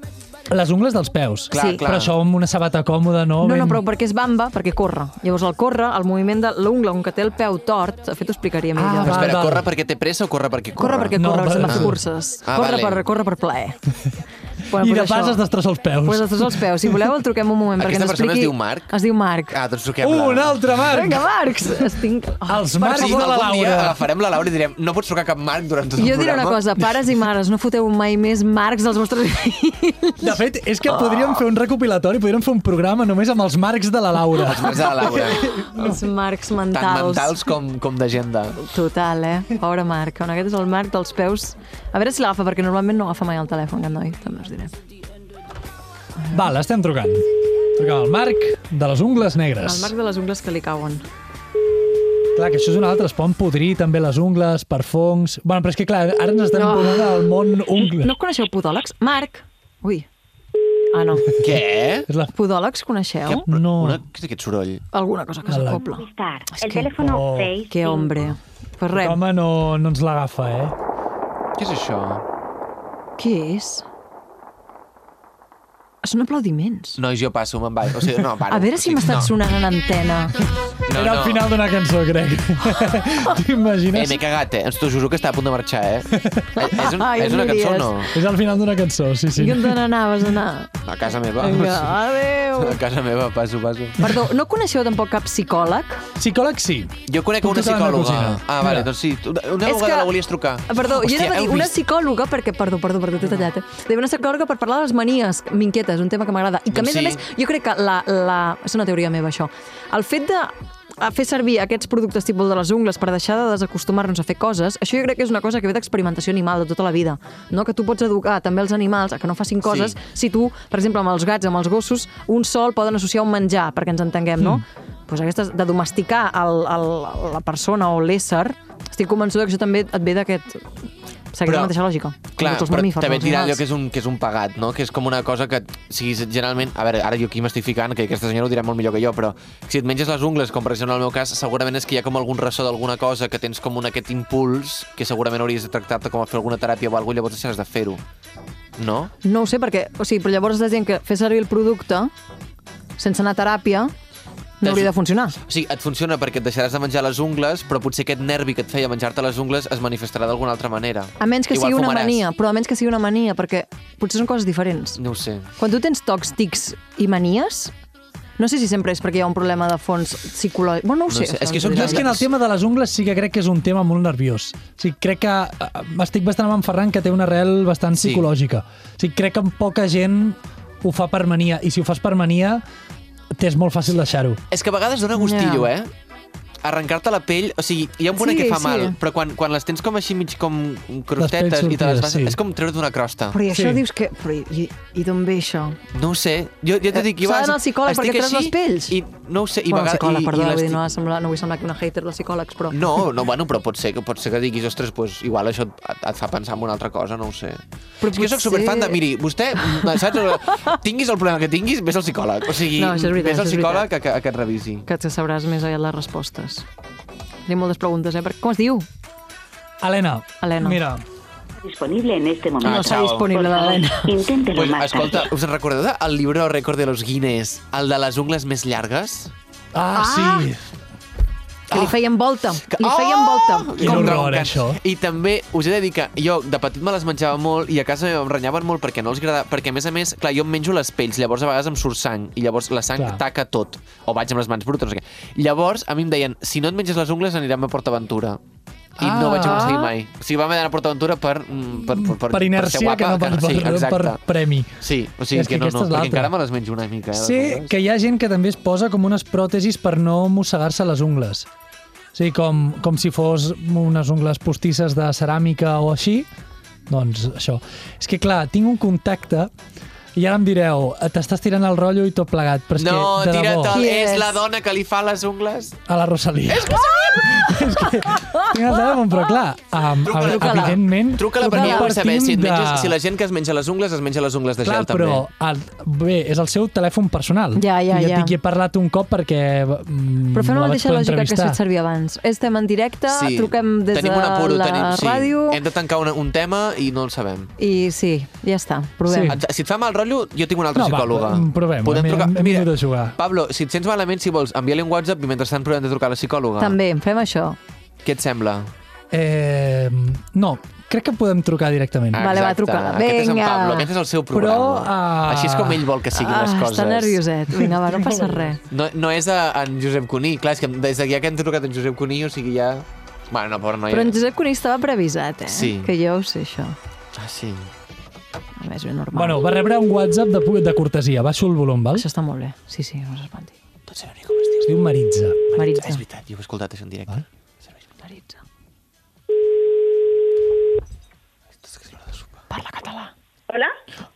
Speaker 1: Les ungles dels peus.
Speaker 3: Clar,
Speaker 2: Sí.
Speaker 3: clar.
Speaker 1: Però això amb una sabata còmoda, no?
Speaker 2: No, no,
Speaker 1: Ben-
Speaker 2: però perquè és bamba, perquè corre. Llavors, al córrer, el moviment de l'ungla, com que té el peu tort, de fet, ho explicaria millor.
Speaker 1: Ah,
Speaker 3: Però
Speaker 1: va.
Speaker 3: espera,
Speaker 1: val.
Speaker 3: corre perquè té pressa o corre perquè corre?
Speaker 2: Corre perquè
Speaker 1: No,
Speaker 2: corre, no,
Speaker 1: vale.
Speaker 2: les
Speaker 1: Ah.
Speaker 2: curses.
Speaker 3: Ah,
Speaker 2: corre,
Speaker 3: vale.
Speaker 2: per, corre per plaer.
Speaker 1: *laughs* I de pas es destrossa els peus.
Speaker 2: Pues destrossa els peus. Si voleu, el truquem un moment. perquè
Speaker 3: Aquesta
Speaker 2: ens
Speaker 3: persona es
Speaker 2: expliqui...
Speaker 3: diu Marc?
Speaker 2: Es diu Marc.
Speaker 3: Ah, doncs truquem
Speaker 1: Un altre, Marc!
Speaker 2: Vinga, Marcs! Estic... Oh,
Speaker 1: Els
Speaker 2: per
Speaker 1: Marcs
Speaker 3: Sí,
Speaker 1: de
Speaker 2: favor.
Speaker 1: la
Speaker 3: algun dia
Speaker 1: Laura.
Speaker 3: agafarem la Laura i direm no pots trucar cap Marc durant tot el
Speaker 2: Jo diré
Speaker 3: programa.
Speaker 2: una cosa, pares i mares, no foteu mai més marcs dels vostres *laughs* fills.
Speaker 1: De fet, és que podríem fer un recopilatori, podríem fer un programa només amb els marcs de la Laura.
Speaker 3: Els Marcs de la
Speaker 2: *laughs*
Speaker 3: Laura.
Speaker 2: Els marcs mentals.
Speaker 3: Tant Oh. mentals com, com d'agenda.
Speaker 2: Total, eh? Pobre Marc. On aquest és el Marc dels peus. A veure si l'agafa, perquè normalment no agafa mai el telèfon, aquest noi, també us diré.
Speaker 1: Val, estem trucant. Trucam al Marc de les ungles negres.
Speaker 2: El Marc de les ungles que li cauen.
Speaker 1: Clar, que això és un altre, es poden podrir també les ungles per fongs... Bueno, però és que clar, ara ens estem
Speaker 2: No.
Speaker 1: no. posant al món ungle.
Speaker 2: No coneixeu podòlegs? Marc! Ui. Ah, no.
Speaker 3: Què?
Speaker 1: És la...
Speaker 2: Podòlegs coneixeu?
Speaker 1: No.
Speaker 3: Una, què és aquest soroll?
Speaker 2: Alguna cosa que
Speaker 1: Hola.
Speaker 2: s'acopla.
Speaker 5: El teléfono
Speaker 1: Oh.
Speaker 5: seis
Speaker 2: Que hombre. Pues res,
Speaker 1: Home, no, no ens l'agafa, eh?
Speaker 3: Què és això?
Speaker 2: què és? Són aplaudiments.
Speaker 3: No, jo passo, me'n vaig. O sigui, no, paro.
Speaker 2: A veure si
Speaker 3: O sigui,
Speaker 2: m'estan
Speaker 3: no,
Speaker 2: sonant en antena.
Speaker 3: No,
Speaker 1: Era
Speaker 3: no.
Speaker 1: el final d'una cançó,
Speaker 2: *laughs*
Speaker 1: crec.
Speaker 3: Eh,
Speaker 1: T'imagines?
Speaker 3: m'he cagat, eh? T'ho juro que està a punt de marxar,
Speaker 2: *laughs*
Speaker 3: eh? Eh, és, un,
Speaker 2: Ai,
Speaker 3: és una
Speaker 2: em
Speaker 3: cançó o
Speaker 2: diries.
Speaker 3: no?
Speaker 1: És al final d'una cançó, sí, sí.
Speaker 2: I on te n'anaves a anar?
Speaker 3: A casa meva.
Speaker 2: Vinga, adeu.
Speaker 3: *laughs* A casa meva, passo, passo.
Speaker 2: Perdó, no coneixeu tampoc cap psicòleg?
Speaker 1: Psicòleg sí.
Speaker 3: Jo conec
Speaker 1: Puc
Speaker 3: una
Speaker 1: tocar la meva
Speaker 3: psicòloga.
Speaker 1: cosina.
Speaker 3: Ah, vale,
Speaker 1: Mira.
Speaker 3: doncs sí. Una, una
Speaker 2: És
Speaker 3: vegada
Speaker 2: que-
Speaker 3: la volies trucar.
Speaker 2: Ah, Perdó, jo anava a dir
Speaker 3: heu
Speaker 2: una
Speaker 3: vist?
Speaker 2: psicòloga perquè... Perdó, perdó, perdó, t'he tallat. Eh? Deia una psicòloga per parlar de les manies. M'inquieta, és un tema que m'agrada. I que, a
Speaker 3: Doncs
Speaker 2: més a
Speaker 3: sí.
Speaker 2: més, jo crec que la, la... És una teoria meva, això. El fet de a fer servir aquests productes tipus de les ungles per deixar de desacostumar-nos a fer coses, això jo crec que és una cosa que ve d'experimentació animal de tota la vida, no? que tu pots educar també els animals a que no facin coses
Speaker 3: Sí.
Speaker 2: si tu, per exemple, amb els gats, amb els gossos, un sol poden associar un menjar, perquè ens entenguem, no?
Speaker 3: Mm.
Speaker 2: Pues aquestes, de domesticar el, el, la persona o l'ésser, estic convençuda que això també et ve d'aquest... Segueix
Speaker 3: Però-
Speaker 2: la mateixa lògica.
Speaker 3: Clar,
Speaker 2: Amb tots els
Speaker 3: però
Speaker 2: mamífers,
Speaker 3: també
Speaker 2: els
Speaker 3: et dirà allò
Speaker 2: animals.
Speaker 3: que és, un, que és un pagat, no? Que és com una cosa que, si generalment... A veure, ara jo aquí m'estic ficant, que aquesta senyora ho dirà molt millor que jo, però si et menges les ungles, com per exemple en el meu cas, segurament és que hi ha com algun ressò d'alguna cosa, que tens com un aquest impuls, que segurament hauries de tractar-te com a fer alguna teràpia o alguna cosa, i llavors deixaràs de fer-ho. No?
Speaker 2: No ho sé, perquè... O sigui, però llavors estàs dient que fer servir el producte sense anar a teràpia no hauria de funcionar.
Speaker 3: O sigui, et funciona perquè et deixaràs de menjar les ungles, però potser aquest nervi que et feia menjar-te les ungles es manifestarà d'alguna altra manera.
Speaker 2: A menys que
Speaker 3: Igual
Speaker 2: sigui una
Speaker 3: fumaràs.
Speaker 2: mania, però a menys que sigui una mania, perquè potser són coses diferents.
Speaker 3: No ho sé.
Speaker 2: Quan tu tens tocs, tics i manies, no sé si sempre és perquè hi ha un problema de fons psicològic. Bueno, no ho
Speaker 3: No
Speaker 2: sé.
Speaker 3: sé,
Speaker 2: això
Speaker 3: és que
Speaker 2: ens ho
Speaker 3: sóc
Speaker 1: Jo
Speaker 2: dirà
Speaker 1: és que en el tema de les ungles sí que crec que és un tema molt nerviós. O sigui, crec que eh, estic bastant amb en Ferran, que té una arrel bastant
Speaker 3: Sí.
Speaker 1: psicològica. O sigui, crec que amb poca gent ho fa per mania, i si ho fas per mania, t'és molt fàcil deixar-ho.
Speaker 3: És que a vegades dona gustillo, yeah. eh? Arrencar-te la pell, o sigui, hi ha un punt en
Speaker 2: Sí,
Speaker 3: què fa
Speaker 2: sí.
Speaker 3: mal, però quan, quan les tens com així mig com
Speaker 1: Les
Speaker 3: crostetes
Speaker 1: pells
Speaker 3: i te les
Speaker 1: sortides,
Speaker 3: vas...
Speaker 1: sí.
Speaker 3: És com treure't una crosta.
Speaker 2: Però i això
Speaker 1: Sí.
Speaker 2: dius que... Però i, i d'on ve això?
Speaker 3: No ho sé. Jo, jo t'ho dic, jo
Speaker 2: Eh, S'ha d'anar
Speaker 3: vegades
Speaker 2: al psicòleg
Speaker 3: estic
Speaker 2: perquè treus
Speaker 3: així
Speaker 2: les pells?
Speaker 3: I no ho sé, i
Speaker 2: bueno,
Speaker 3: vegades...
Speaker 2: psicòleg,
Speaker 3: i,
Speaker 2: perdó,
Speaker 3: i
Speaker 2: vull dir,
Speaker 3: l'estic-
Speaker 2: no, va semblar, no vull semblar que una hater dels psicòlegs, però...
Speaker 3: No, no, bueno, però pot ser, que, pot ser que diguis, ostres, pues, igual això et, et- et fa pensar en una altra cosa, no ho sé.
Speaker 2: Però
Speaker 3: Però és que jo soc
Speaker 2: potser-
Speaker 3: superfan de, miri, vostè, mm, saps,
Speaker 2: *laughs*
Speaker 3: tinguis el problema que tinguis, vés al psicòleg. O sigui,
Speaker 2: No, això és veritat,
Speaker 3: vés
Speaker 2: això
Speaker 3: al
Speaker 2: és
Speaker 3: psicòleg a, que, a que et revisi.
Speaker 2: Que et sabràs més aviat les respostes. Tenim moltes preguntes, eh? Perquè, com es diu?
Speaker 1: Helena,
Speaker 2: Helena.
Speaker 1: Mira,
Speaker 5: Disponible en este momento.
Speaker 3: Ah,
Speaker 2: no està
Speaker 3: chao.
Speaker 2: disponible l'Helena.
Speaker 5: Inténtelo
Speaker 3: Pues,
Speaker 5: más
Speaker 3: escolta,
Speaker 5: tarde.
Speaker 3: us en recordeu del llibre rècord de los Guinness? El de les ungles més llargues?
Speaker 1: Ah, sí.
Speaker 2: Que
Speaker 3: Ah.
Speaker 2: li feien volta. Li feien
Speaker 3: Oh!
Speaker 2: volta.
Speaker 1: Quin
Speaker 3: Com
Speaker 1: horror,
Speaker 3: ronquen.
Speaker 1: això.
Speaker 3: I també us he de dir que jo de petit me les menjava molt i a casa meva em renyaven molt perquè no els agradava, perquè a més a més, clar, jo em menjo les pells, llavors a vegades em surt sang i llavors la sang
Speaker 1: Clar.
Speaker 3: clar. taca tot o vaig amb les mans brutes, no sé què. Llavors a mi em deien, si no et menges les ungles anirem a PortAventura. i no vaig
Speaker 1: Ah.
Speaker 3: aconseguir mai. O sigui, vam anar a PortAventura per, mm, per, per, per,
Speaker 1: per
Speaker 3: ser
Speaker 1: inèrcia que
Speaker 3: guapa,
Speaker 1: no per,
Speaker 3: sí,
Speaker 1: per,
Speaker 3: exacte.
Speaker 1: per premi.
Speaker 3: Sí, o sigui,
Speaker 1: És
Speaker 3: és
Speaker 1: que
Speaker 3: que, no,
Speaker 1: aquesta
Speaker 3: no,
Speaker 1: és
Speaker 3: perquè
Speaker 1: l'altra.
Speaker 3: encara me les menjo una mica. eh,
Speaker 1: Sé
Speaker 3: les ungles.
Speaker 1: que hi ha gent que també es posa com unes pròtesis per no mossegar-se les ungles. Sí, com, com si fos unes ungles postisses de ceràmica o així. Doncs això. És que, clar, tinc un contacte i ara em direu, "Eh, t'estàs tirant el rotllo i tot plegat, però és
Speaker 3: No,
Speaker 1: que, de
Speaker 3: tira
Speaker 1: debò,
Speaker 3: tot.
Speaker 2: Qui
Speaker 3: És
Speaker 2: és?
Speaker 3: la dona que li fa les ungles?
Speaker 1: a la Rosalia. *laughs* És que tinc el telèfon, però clar, um, a,
Speaker 3: Truca-la.
Speaker 1: evidentment...
Speaker 3: Truca-la perquè jo
Speaker 1: no
Speaker 3: vull saber si, et
Speaker 1: partim
Speaker 3: menges,
Speaker 1: de-
Speaker 3: si la gent que es menja les ungles es menja les ungles de
Speaker 1: Clar,
Speaker 3: gel
Speaker 1: però
Speaker 3: també.
Speaker 1: el, bé, és el seu telèfon personal.
Speaker 2: Ja, ja,
Speaker 1: I et
Speaker 2: ja.
Speaker 1: dic, hi he parlat un cop perquè... Mm,
Speaker 2: Però fem
Speaker 1: la
Speaker 2: la
Speaker 1: vaig
Speaker 2: mateixa
Speaker 1: poder
Speaker 2: lògica que has
Speaker 1: entrevistar.
Speaker 2: fet servir abans. Estem en directe, truquem des
Speaker 3: tenim
Speaker 2: de
Speaker 3: un apuro,
Speaker 2: la
Speaker 3: tenim, sí.
Speaker 2: ràdio
Speaker 3: Hem de tancar un, un tema i no el sabem.
Speaker 2: i sí, ja està, provem.
Speaker 1: Sí.
Speaker 3: Et- Si et fa mal rotllo, jo tinc una altra
Speaker 1: No, va,
Speaker 3: psicòloga.
Speaker 1: mm, provem-ho. A mi em- em
Speaker 3: Mira,
Speaker 1: vingut a jugar.
Speaker 3: Pablo, si et sents malament, si vols, envia-li un WhatsApp i mentrestant provem de trucar a la psicòloga.
Speaker 2: També, fem això.
Speaker 3: Què et sembla?
Speaker 1: Eh, no, crec que podem trucar directament.
Speaker 2: Vale, va,
Speaker 3: Exacte.
Speaker 2: truca.
Speaker 3: Aquest és en
Speaker 2: Vinga. ah,
Speaker 3: Pablo, aquest és el seu
Speaker 1: Però,
Speaker 3: programa.
Speaker 1: ah,
Speaker 3: Així és com ell vol que siguin les coses.
Speaker 2: està nervioset. Vinga,
Speaker 3: *laughs*
Speaker 2: va, no passa res.
Speaker 3: No, no és a, en Josep Cuní. Clar, és que des de ja que hem trucat en Josep Cuní, o sigui, ja... Bueno, no, pobra noia.
Speaker 2: Però en Josep Cuní estava previsat, eh?
Speaker 3: Sí.
Speaker 2: Que jo ho sé, això.
Speaker 3: Ah, sí.
Speaker 2: A més, ben normal.
Speaker 1: Bueno, va rebre un WhatsApp de, pu- de cortesia. Baixo el volum, val?
Speaker 2: Això està molt bé. Sí, sí, no s'espanti.
Speaker 3: Tot serà únic com es diu.
Speaker 1: Es diu Maritza.
Speaker 2: Maritza.
Speaker 3: Ah, És veritat, jo ho he escoltat això en directe.
Speaker 1: Val.
Speaker 2: Maritza. Parla català.
Speaker 10: ¿Hola?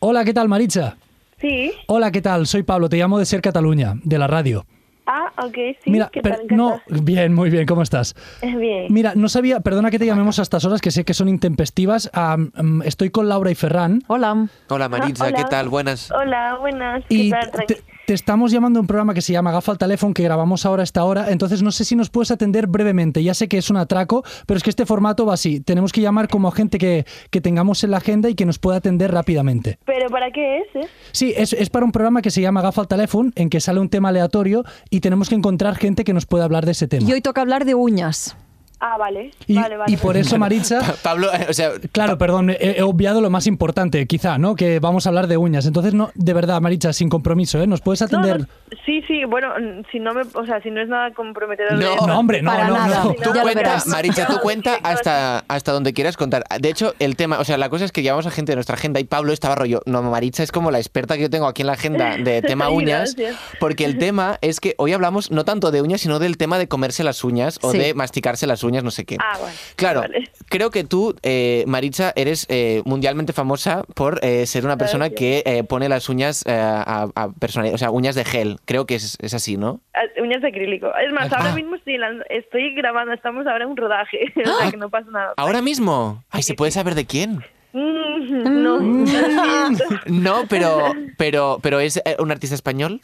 Speaker 1: Hola, ¿qué tal, Maritza?
Speaker 10: Sí.
Speaker 1: Hola, ¿qué tal? Soy Pablo, te llamo de Ser Cataluña, de la radio.
Speaker 10: Ah, ok, sí.
Speaker 1: Mira,
Speaker 10: ¿Qué
Speaker 1: per-
Speaker 10: tal? ¿Qué
Speaker 1: no, bien, muy bien, ¿cómo estás?
Speaker 10: tal? Bien.
Speaker 1: Mira, no sabía, perdona que te llamemos a estas horas, que sé que son intempestivas. Am, am, estoy con Laura y Ferran.
Speaker 2: Hola.
Speaker 3: Hola, Maritza,
Speaker 10: hola.
Speaker 3: ¿qué tal? Buenas.
Speaker 10: Hola, buenas. ¿Qué
Speaker 1: Y
Speaker 10: tal? Tranqui-
Speaker 1: te, te estamos llamando a un programa que se llama Gafa al Teléfono, que grabamos ahora a esta hora. Entonces, no sé si nos puedes atender brevemente. Ya sé que es un atraco, pero es que este formato va así. Tenemos que llamar como a gente que, que tengamos en la agenda y que nos pueda atender rápidamente.
Speaker 10: ¿Pero para qué es? eh?
Speaker 1: Sí, es, es para un programa que se llama Gafa al Teléfono, en que sale un tema aleatorio y tenemos que encontrar gente que nos pueda hablar de ese tema.
Speaker 2: Y hoy toca hablar de uñas.
Speaker 10: Ah, vale.
Speaker 1: Y-
Speaker 10: vale, vale.
Speaker 1: y por eso, Maritza,
Speaker 3: *laughs* Pa- Pablo, eh, o sea,
Speaker 1: Claro, perdón, he, he obviado lo más importante, quizá, ¿no? Que vamos a hablar de uñas. Entonces, no, de verdad, Maritza, sin compromiso, ¿eh? ¿Nos puedes
Speaker 10: No,
Speaker 1: atender?
Speaker 10: no, sí, sí, bueno, mm, si no me, o sea, si no es nada comprometedor.
Speaker 3: No,
Speaker 10: de-
Speaker 1: No, hombre, no,
Speaker 2: Para
Speaker 1: no,
Speaker 2: nada.
Speaker 1: no.
Speaker 3: tú
Speaker 2: ya lo
Speaker 3: cuenta,
Speaker 2: verás.
Speaker 3: Maritza, tú cuenta
Speaker 10: *laughs* Chicos.
Speaker 3: hasta, hasta donde quieras contar. De hecho, el tema, o sea, la cosa es que llevamos a gente de nuestra agenda y Pablo estaba rollo, no, Maritza es como la experta que yo tengo aquí en la agenda
Speaker 10: *laughs*
Speaker 3: de tema
Speaker 10: Ay,
Speaker 3: uñas,
Speaker 10: gracias.
Speaker 3: porque el tema es que hoy hablamos no tanto de uñas, sino del tema de comerse las uñas o
Speaker 2: Sí.
Speaker 3: de masticarse las uñas, no sé qué.
Speaker 10: Ah, bueno.
Speaker 3: Claro,
Speaker 10: Vale.
Speaker 3: creo que tú, eh, Maritza, eres eh, mundialmente famosa por eh, ser una persona que eh, pone las uñas eh, a, a personali- o sea, uñas de gel. Creo que es, es así, ¿no?
Speaker 10: Ah, Uñas de acrílico. Es más,
Speaker 3: Ah.
Speaker 10: ahora mismo estoy, lan- estoy grabando, estamos ahora en un rodaje, *laughs* o
Speaker 3: Ah.
Speaker 10: sea que no pasa nada.
Speaker 3: Ahora mismo. Ay, ¿se puede saber de quién?
Speaker 10: Mm,
Speaker 2: *laughs*
Speaker 10: *laughs* No, lo siento.
Speaker 3: No, pero, pero, pero es eh, un artista español.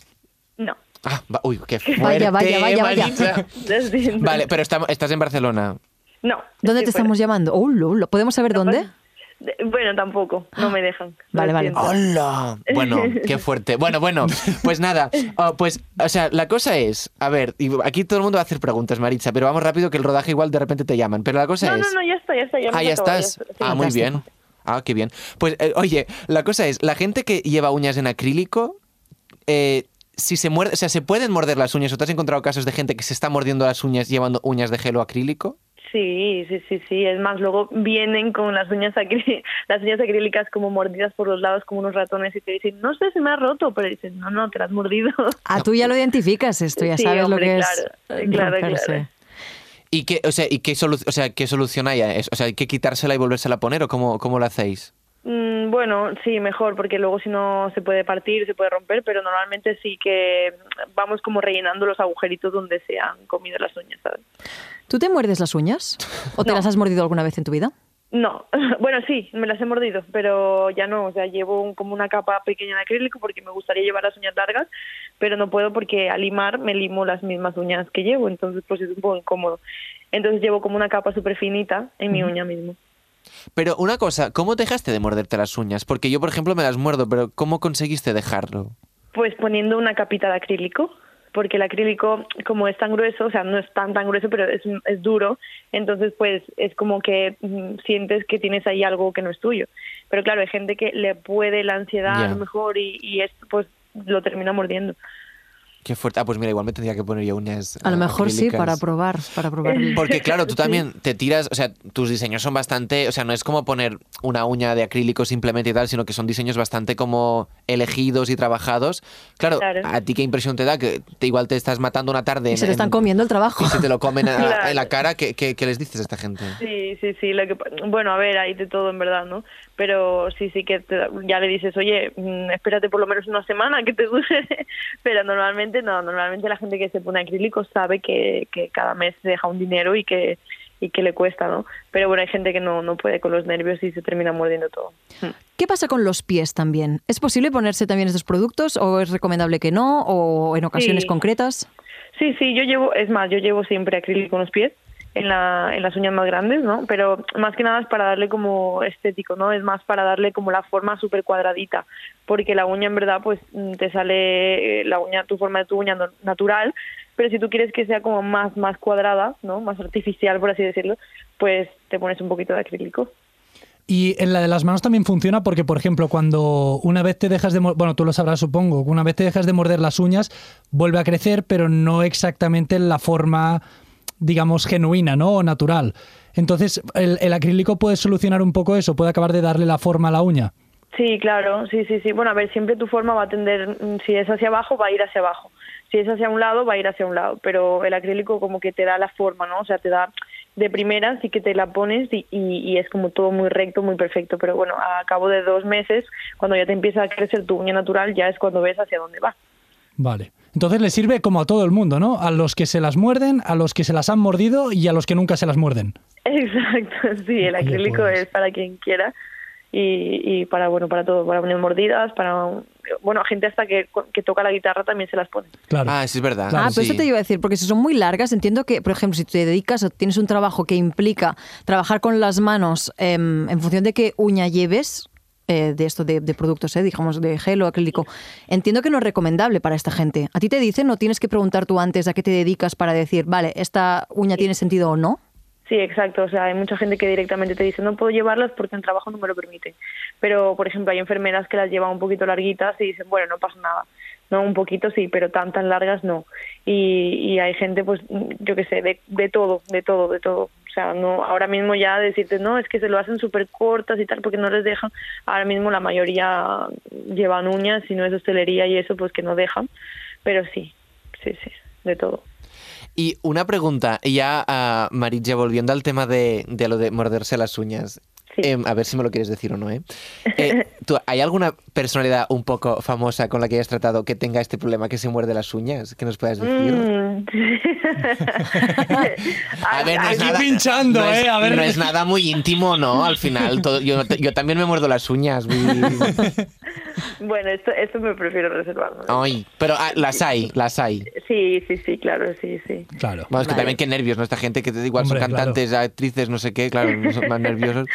Speaker 10: no,
Speaker 3: Ah, va- uy, qué fuerte,
Speaker 2: Vaya, vaya, vaya, vaya.
Speaker 3: Maritza.
Speaker 10: lo siento.
Speaker 3: Vale, pero estamos- estás en Barcelona.
Speaker 10: No.
Speaker 2: ¿Dónde
Speaker 10: estoy
Speaker 2: te
Speaker 10: fuera.
Speaker 2: estamos llamando? Oh, lo, ¿Podemos saber dónde?
Speaker 10: De- Bueno, tampoco,
Speaker 1: Ah.
Speaker 10: no me dejan. lo
Speaker 2: Vale, vale.
Speaker 10: siento.
Speaker 3: ¡Hola! Bueno, qué fuerte. Bueno, bueno, pues nada. Oh, pues, o sea, la cosa es, a ver, y aquí todo el mundo va a hacer preguntas, Maritza, pero vamos rápido que el rodaje igual de repente te llaman. Pero la cosa
Speaker 10: No,
Speaker 3: es.
Speaker 10: no, no, ya está, ya está. Ya me
Speaker 3: ah, ya
Speaker 10: acabo,
Speaker 3: estás.
Speaker 10: está, sí.
Speaker 3: ah, muy
Speaker 2: Fantástico.
Speaker 3: bien. Ah, qué bien. Pues, eh, oye, la cosa es, la gente que lleva uñas en acrílico, eh, si se muerde, o sea, ¿se pueden morder las uñas? ¿O te has encontrado casos de gente que se está mordiendo las uñas llevando uñas de gel o acrílico?
Speaker 10: Sí, sí, sí, sí. Es más, luego vienen con las uñas, acrí- *laughs* las uñas acrílicas como mordidas por los lados como unos ratones y te dicen, no sé, se me ha roto, pero dicen, no, no, te las has mordido. *laughs*
Speaker 2: Ah, tú ya lo identificas esto, ya
Speaker 10: Sí,
Speaker 2: sabes lo
Speaker 10: hombre,
Speaker 2: que
Speaker 10: claro,
Speaker 2: es eh,
Speaker 10: claro,
Speaker 2: romperse.
Speaker 10: claro.
Speaker 3: ¿Y qué, o sea, ¿y qué, solu- o sea, qué solución hay? a eso? O sea, ¿hay que quitársela y volvérsela a poner o cómo, cómo lo hacéis?
Speaker 10: Mm, bueno, sí, mejor, porque luego si no se puede partir, se puede romper, pero normalmente sí que vamos como rellenando los agujeritos donde se han comido las uñas, ¿sabes?
Speaker 2: ¿Tú te muerdes las uñas? ¿O te las has mordido alguna vez en tu vida?
Speaker 10: No, *laughs* bueno, sí, me las he mordido, pero ya no, o sea, llevo un- como una capa pequeña de acrílico porque me gustaría llevar las uñas largas, pero no puedo porque al limar me limo las mismas uñas que llevo, entonces pues es un poco incómodo. Entonces llevo como una capa súper finita en mi uña mismo.
Speaker 3: Pero una cosa, ¿cómo dejaste de morderte las uñas? Porque yo, por ejemplo, me las muerdo, pero ¿cómo conseguiste dejarlo?
Speaker 10: Pues poniendo una capita de acrílico, porque el acrílico como es tan grueso, o sea, no es tan tan grueso, pero es, es duro, entonces pues es como que mm, sientes que tienes ahí algo que no es tuyo. Pero claro, hay gente que le puede la ansiedad a
Speaker 3: Ya.
Speaker 10: lo mejor y, y es, pues lo termina mordiendo.
Speaker 3: Qué fuerte. Ah, pues mira, igual me tendría que poner yo uñas.
Speaker 2: A lo
Speaker 3: eh,
Speaker 2: mejor sí,
Speaker 3: acrílicas.
Speaker 2: para probar, para probar.
Speaker 10: Eh,
Speaker 3: Porque claro, tú también te tiras, o sea, tus diseños son bastante, o sea, no es como poner una uña de acrílico simplemente y tal, sino que son diseños bastante como elegidos y trabajados. Claro,
Speaker 10: Claro.
Speaker 3: ¿a ti qué impresión te da? Que te- igual te estás matando una tarde.
Speaker 2: Y
Speaker 3: en-
Speaker 2: se te están
Speaker 3: en-
Speaker 2: comiendo el trabajo.
Speaker 3: Y se te lo comen a-
Speaker 10: Claro.
Speaker 3: en la cara. ¿Qué, qué, qué les dices a esta gente?
Speaker 10: Sí, sí, sí. Lo que, pa- bueno, a ver, hay de todo en verdad, ¿no? Pero sí, sí que te- ya le dices, oye, mm, espérate por lo menos una semana que te dure. *laughs* Pero normalmente no, normalmente la gente que se pone acrílico sabe que, que cada mes deja un dinero y que y que le cuesta, ¿no? Pero bueno, hay gente que no, no puede con los nervios y se termina mordiendo todo.
Speaker 2: *laughs* ¿Qué pasa con los pies también? ¿Es posible ponerse también estos productos o es recomendable que no o en ocasiones
Speaker 10: Sí.
Speaker 2: concretas?
Speaker 10: Sí, sí, yo llevo, es más, yo llevo siempre acrílico en los pies, en, la, en las uñas más grandes, ¿no? Pero más que nada es para darle como estético, ¿no? Es más para darle como la forma súper cuadradita, porque la uña en verdad pues mm, te sale eh, la uña, tu forma de tu uña no- natural, pero si tú quieres que sea como más, más cuadrada, ¿no? Más artificial, por así decirlo, pues te pones un poquito de acrílico.
Speaker 1: Y en la de las manos también funciona porque, por ejemplo, cuando una vez te dejas de... mor- Bueno, tú lo sabrás, supongo. Una vez te dejas de morder las uñas, vuelve a crecer, pero no exactamente en la forma, digamos, genuina, ¿no? O natural. Entonces, el, el acrílico puede solucionar un poco eso, puede acabar de darle la forma a la uña.
Speaker 10: Sí, claro, sí, sí, sí. Bueno, a ver, siempre tu forma va a tender, mm, si es hacia abajo, va a ir hacia abajo. Si es hacia un lado, va a ir hacia un lado. Pero el acrílico como que te da la forma, ¿no? O sea, te da de primera, sí que te la pones y, y- y es como todo muy recto, muy perfecto. Pero bueno, a cabo de dos meses, cuando ya te empieza a crecer tu uña natural, ya es cuando ves hacia dónde va. *laughs*
Speaker 1: Vale. Entonces le sirve como a todo el mundo, ¿no? A los que se las muerden, a los que se las han mordido y a los que nunca se las muerden.
Speaker 10: Exacto, sí, el
Speaker 1: Oye,
Speaker 10: acrílico
Speaker 1: pues.
Speaker 10: es para quien quiera y, y para, bueno, para todo, para poner mordidas, para, bueno, a gente hasta que, que toca la guitarra también se las pone.
Speaker 1: Claro.
Speaker 3: Ah, sí, es verdad.
Speaker 1: Claro,
Speaker 2: ah, pero
Speaker 3: sí.
Speaker 2: eso te iba a decir, porque si son muy largas, entiendo que, por ejemplo, si te dedicas o tienes un trabajo que implica trabajar con las manos em, en función de qué uña lleves, eh, de esto de, de productos, eh, digamos, de gel o acrílico, entiendo que no es recomendable para esta gente. ¿A ti te dicen o tienes que preguntar tú antes a qué te dedicas para decir, vale, esta uña tiene sentido o no?
Speaker 10: Sí, exacto. O sea, hay mucha gente que directamente te dice no puedo llevarlas porque el trabajo no me lo permite. Pero, por ejemplo, hay enfermeras que las llevan un poquito larguitas y dicen, bueno, no pasa nada. No, un poquito sí, pero tan tan largas no. Y, y hay gente, pues, yo qué sé, de, de todo, de todo, de todo. O sea, no, ahora mismo ya decirte, no, es que se lo hacen súper cortas y tal porque no les dejan. Ahora mismo la mayoría llevan uñas, si no es hostelería y eso, pues que no dejan. Pero sí, sí, sí, de todo.
Speaker 3: Y una pregunta, y ya, ah, Maritza, volviendo al tema de, de lo de morderse las uñas.
Speaker 10: Sí.
Speaker 3: Em, a ver si me lo quieres decir o no, ¿eh?
Speaker 10: *laughs*
Speaker 3: Eh, tú, ¿Hay alguna personalidad un poco famosa con la que hayas tratado que tenga este problema, que se muerde las uñas? ¿Qué nos puedas decir?
Speaker 10: Mm. *laughs*
Speaker 3: A ver, no es
Speaker 1: Aquí
Speaker 3: nada,
Speaker 1: pinchando,
Speaker 3: no es-
Speaker 1: eh, a ver.
Speaker 3: no es nada muy íntimo, ¿no? Al final, todo- yo, yo también me muerdo las uñas.
Speaker 10: *laughs*
Speaker 3: muy-
Speaker 10: ah, Bueno, esto, esto me prefiero reservarlo.
Speaker 3: Ay, pero ah, las hay, las hay.
Speaker 10: Sí, sí, sí, claro, sí, sí.
Speaker 1: Claro.
Speaker 3: Vamos, que también qué nervios, ¿no? Esta gente que te- igual
Speaker 1: Hombre,
Speaker 3: son
Speaker 1: claro.
Speaker 3: cantantes, actrices, no sé qué, claro, son más nerviosos.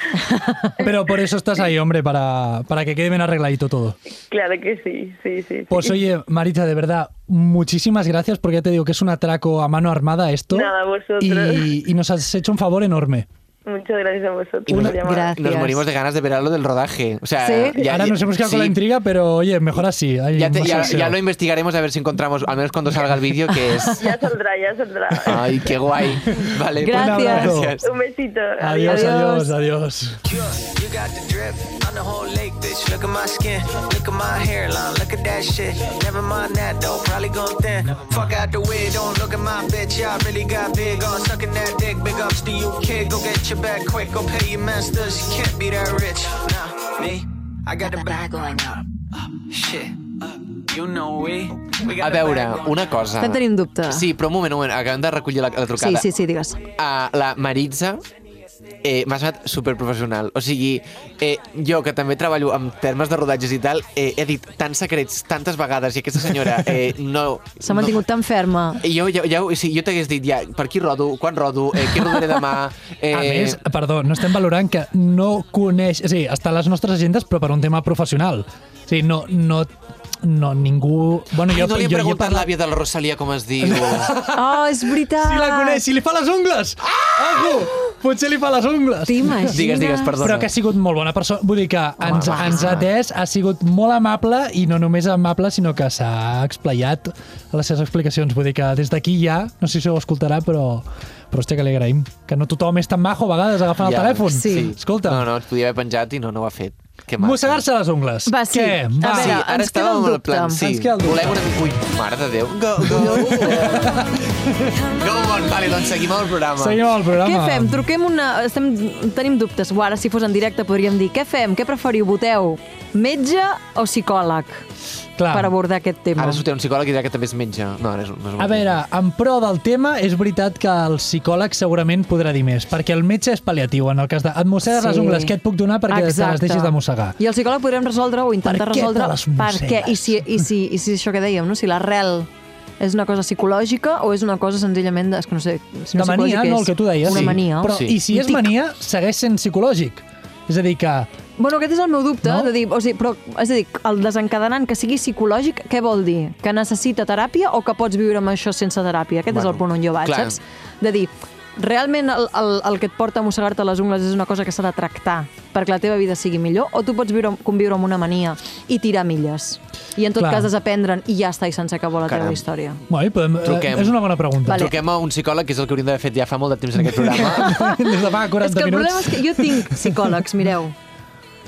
Speaker 1: Pero por eso estás ahí, hombre, para, para que quede bien arregladito todo.
Speaker 10: Claro que sí, sí, sí. sí.
Speaker 1: Pues oye, Marita, de verdad, muchísimas gracias porque ya te digo que es un atraco a mano armada esto.
Speaker 10: Nada, vosotros.
Speaker 1: Y, y nos has hecho un favor enorme.
Speaker 10: Muchas gracias a vosotros
Speaker 3: Y
Speaker 10: por
Speaker 3: nos,
Speaker 10: la llamada.
Speaker 2: Gracias.
Speaker 3: nos morimos de ganas de ver algo del rodaje. O sea,
Speaker 2: Sí.
Speaker 1: Ahora nos hemos quedado con
Speaker 3: sí,
Speaker 1: la intriga, pero oye, mejor así. hay
Speaker 3: Ya, te-
Speaker 1: más
Speaker 3: ya-
Speaker 1: salseo.
Speaker 3: ya lo investigaremos a ver si encontramos, al menos cuando salga el vídeo,
Speaker 2: *laughs*
Speaker 3: que es.
Speaker 10: Ya saldrá, ya saldrá.
Speaker 3: Ay, qué guay. Vale, pues,
Speaker 2: Gracias.
Speaker 3: gracias.
Speaker 10: Un besito.
Speaker 1: Adiós, adiós, adiós.
Speaker 11: Yeah, you got the drip on the whole lake, bitch. Look at my skin, look at my hairline, look at that shit. Never mind that though, probably gon' thin. Fuck out the way, don't look at my bitch. Yeah, I really got big on sucking that dick. Big ups to you, kid. Go get your back quick, go pay your masters. You can't be that rich. Nah, me, I got the back going up. Up, Shit, up. you know we. we
Speaker 3: A
Speaker 11: got the
Speaker 3: veure,
Speaker 11: bag going
Speaker 3: una cosa.
Speaker 2: Estem tenint dubte.
Speaker 3: Sí, però un moment, un moment, acabem de recollir la, la
Speaker 2: Sí,
Speaker 3: trucada.
Speaker 2: sí, sí, digues.
Speaker 3: a la Maritza eh, m'ha sonat superprofessional. O sigui, eh, jo, que també treballo amb termes de rodatges i tal, eh, he dit tants secrets tantes vegades i aquesta senyora eh, no...
Speaker 2: S'ha mantingut tan ferma.
Speaker 3: *laughs* No. I Jo, ja, ja, o sigui, jo t'hagués dit ja per qui rodo, quan rodo, eh, què rodaré
Speaker 1: *laughs*
Speaker 3: demà... Eh,
Speaker 1: A més, perdó, no estem valorant que no coneix... Sí, està a les nostres agendes, però per un tema professional. Sí, no, no, no ningú... Bueno,
Speaker 3: Ai,
Speaker 1: jo,
Speaker 3: no li he
Speaker 1: jo, jo he
Speaker 3: preguntat a
Speaker 1: parlat-
Speaker 3: l'àvia de la
Speaker 1: *laughs*
Speaker 3: Rosalia com es diu.
Speaker 2: Oh, és veritat!
Speaker 1: Si la coneix, si li fa les ungles! Ah! Ojo! potser li fa les ungles.
Speaker 2: T'imagines?
Speaker 3: Digues, digues, perdó.
Speaker 1: Però que ha sigut molt bona persona. Vull dir que ens, ens ha atès, ha sigut molt amable i no només amable, sinó que s'ha explayat a les seves explicacions. Vull dir que des d'aquí ja, no sé si ho escoltarà, però, però hòstia, que li agraïm. Que no tothom és tan majo a vegades agafant ja, el telèfon. Escolta,
Speaker 3: No, no, ens podia haver penjat i no, no ho ha fet. Que maco.
Speaker 1: mossegar-se les ungles.
Speaker 2: Va, sí.
Speaker 1: Què? Va.
Speaker 2: A
Speaker 3: Sí,
Speaker 2: veure,
Speaker 3: ara
Speaker 2: ens queda
Speaker 3: estàvem
Speaker 2: el
Speaker 3: amb el
Speaker 2: dubte.
Speaker 3: plan, sí.
Speaker 1: Ens queda el dubte.
Speaker 3: Volem una... Ui, mare de Déu. Go, go, go. go on, vale, doncs seguim amb el programa.
Speaker 1: Seguim amb el
Speaker 2: Què
Speaker 1: programa.
Speaker 2: fem? Truquem una... Estem... Tenim dubtes. O ara, si fos en directe, podríem dir què fem? Què preferiu? Voteu metge o psicòleg
Speaker 1: Clar.
Speaker 2: per abordar aquest tema?
Speaker 3: Ara sortirà un psicòleg i dirà que també es menja. No, ara és, no és
Speaker 1: A veure, en pro del tema, és veritat que el psicòleg segurament podrà dir més, perquè el metge és pal·liatiu en el cas de... Et mossegues les ungles, què et puc donar perquè te les
Speaker 2: Exacte.
Speaker 1: deixis de mossegar?
Speaker 2: I el psicòleg podrem resoldre o intentar
Speaker 1: Per què te
Speaker 2: resoldre...
Speaker 1: les
Speaker 2: perquè, i si, i, si, I si això que dèiem, no? si l'arrel és una cosa psicològica o és una cosa senzillament... De, és que no sé, si no
Speaker 1: de mania, no, el que tu deies.
Speaker 2: Una
Speaker 3: Sí,
Speaker 2: mania.
Speaker 1: Però,
Speaker 3: Sí.
Speaker 1: I si
Speaker 2: Un
Speaker 1: és
Speaker 2: tic.
Speaker 1: mania, segueix sent psicològic. És a dir que...
Speaker 2: Bueno, aquest és el meu dubte,
Speaker 1: No?
Speaker 2: no? de dir, o sigui, però, és a dir, el desencadenant que sigui psicològic, què vol dir? Que necessita teràpia o que pots viure amb això sense teràpia? Aquest és
Speaker 3: Bueno,
Speaker 2: el punt on jo vaig,
Speaker 3: clar.
Speaker 2: saps? De dir, realment el, el, el que et porta a mossegar-te les ungles és una cosa que s'ha de tractar perquè la teva vida sigui millor, o tu pots viure, conviure amb una mania i tirar milles. I en tot
Speaker 1: Clar.
Speaker 2: clar. cas desaprendre'n i ja està i sense acabar la
Speaker 3: Caram.
Speaker 2: teva història.
Speaker 1: Bueno, podem, eh,
Speaker 3: Truquem.
Speaker 1: és una bona pregunta.
Speaker 2: Vale.
Speaker 3: Truquem a un psicòleg, que és el que hauríem d'haver fet ja fa molt de temps en aquest
Speaker 1: *laughs*
Speaker 3: programa.
Speaker 1: Des de fa 40
Speaker 2: És que el problema
Speaker 1: minuts.
Speaker 2: és que jo tinc psicòlegs, mireu.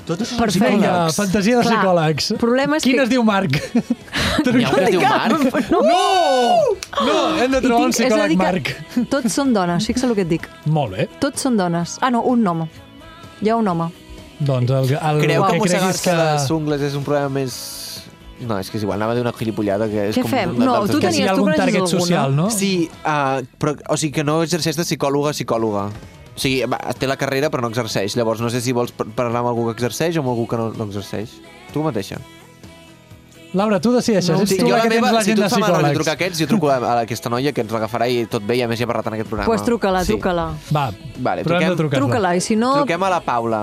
Speaker 3: Tot això
Speaker 2: Perfecte.
Speaker 1: Vinga,
Speaker 2: psicòlegs.
Speaker 1: fantasia de
Speaker 2: Clar,
Speaker 1: psicòlegs.
Speaker 2: problema és
Speaker 1: Quin
Speaker 2: que-
Speaker 1: es diu
Speaker 2: *laughs*
Speaker 1: Marc?
Speaker 3: N'hi ha un que es diu Marc.
Speaker 1: No! No! Hem de
Speaker 2: I
Speaker 1: trobar
Speaker 2: tinc-
Speaker 1: un
Speaker 2: és a
Speaker 1: psicòleg,
Speaker 2: dir que
Speaker 1: Marc.
Speaker 2: Tots són dones, fixa el que et dic.
Speaker 1: Molt bé.
Speaker 2: Tots són dones. Ah, no, un home. Hi ha un home.
Speaker 1: Doncs el, el
Speaker 3: Creu que
Speaker 1: que creguis
Speaker 3: mossegar-se
Speaker 1: que...
Speaker 3: les ungles és un problema més... No, és que és igual, anava a dir una gilipollada que és
Speaker 2: Què
Speaker 3: com...
Speaker 2: fem?
Speaker 3: una
Speaker 2: No,
Speaker 3: dels
Speaker 2: tu
Speaker 1: Que
Speaker 3: esquemes.
Speaker 1: sigui
Speaker 2: tenies- tu
Speaker 1: algun
Speaker 2: coneixes
Speaker 1: target
Speaker 2: algú, no?
Speaker 1: social, no?
Speaker 3: Sí, uh, però, o sigui, que no exerceix de psicòloga a psicòloga. O sigui, va, té la carrera però no exerceix. Llavors, no sé si vols par- parlar amb algú que exerceix o amb algú que no, no exerceix. Tu mateixa.
Speaker 1: Laura, tu decideixes.
Speaker 3: Sí,
Speaker 1: Ets tu
Speaker 3: jo
Speaker 1: la que tens
Speaker 3: si tu
Speaker 1: l'agenda de
Speaker 3: et fa mal no li trucar
Speaker 1: psicòlegs.
Speaker 3: a aquests, jo truco a, a aquesta noia que ens l'agafarà i tot bé, i a més ja ha parlat en aquest programa.
Speaker 2: Doncs pues truca-la,
Speaker 3: Ah, Sí.
Speaker 2: truca-la.
Speaker 1: Va,
Speaker 3: Vale,
Speaker 1: però hem de
Speaker 3: truquem-
Speaker 1: trucar-la.
Speaker 2: Truca-la, i si no...
Speaker 3: Truquem a la Paula.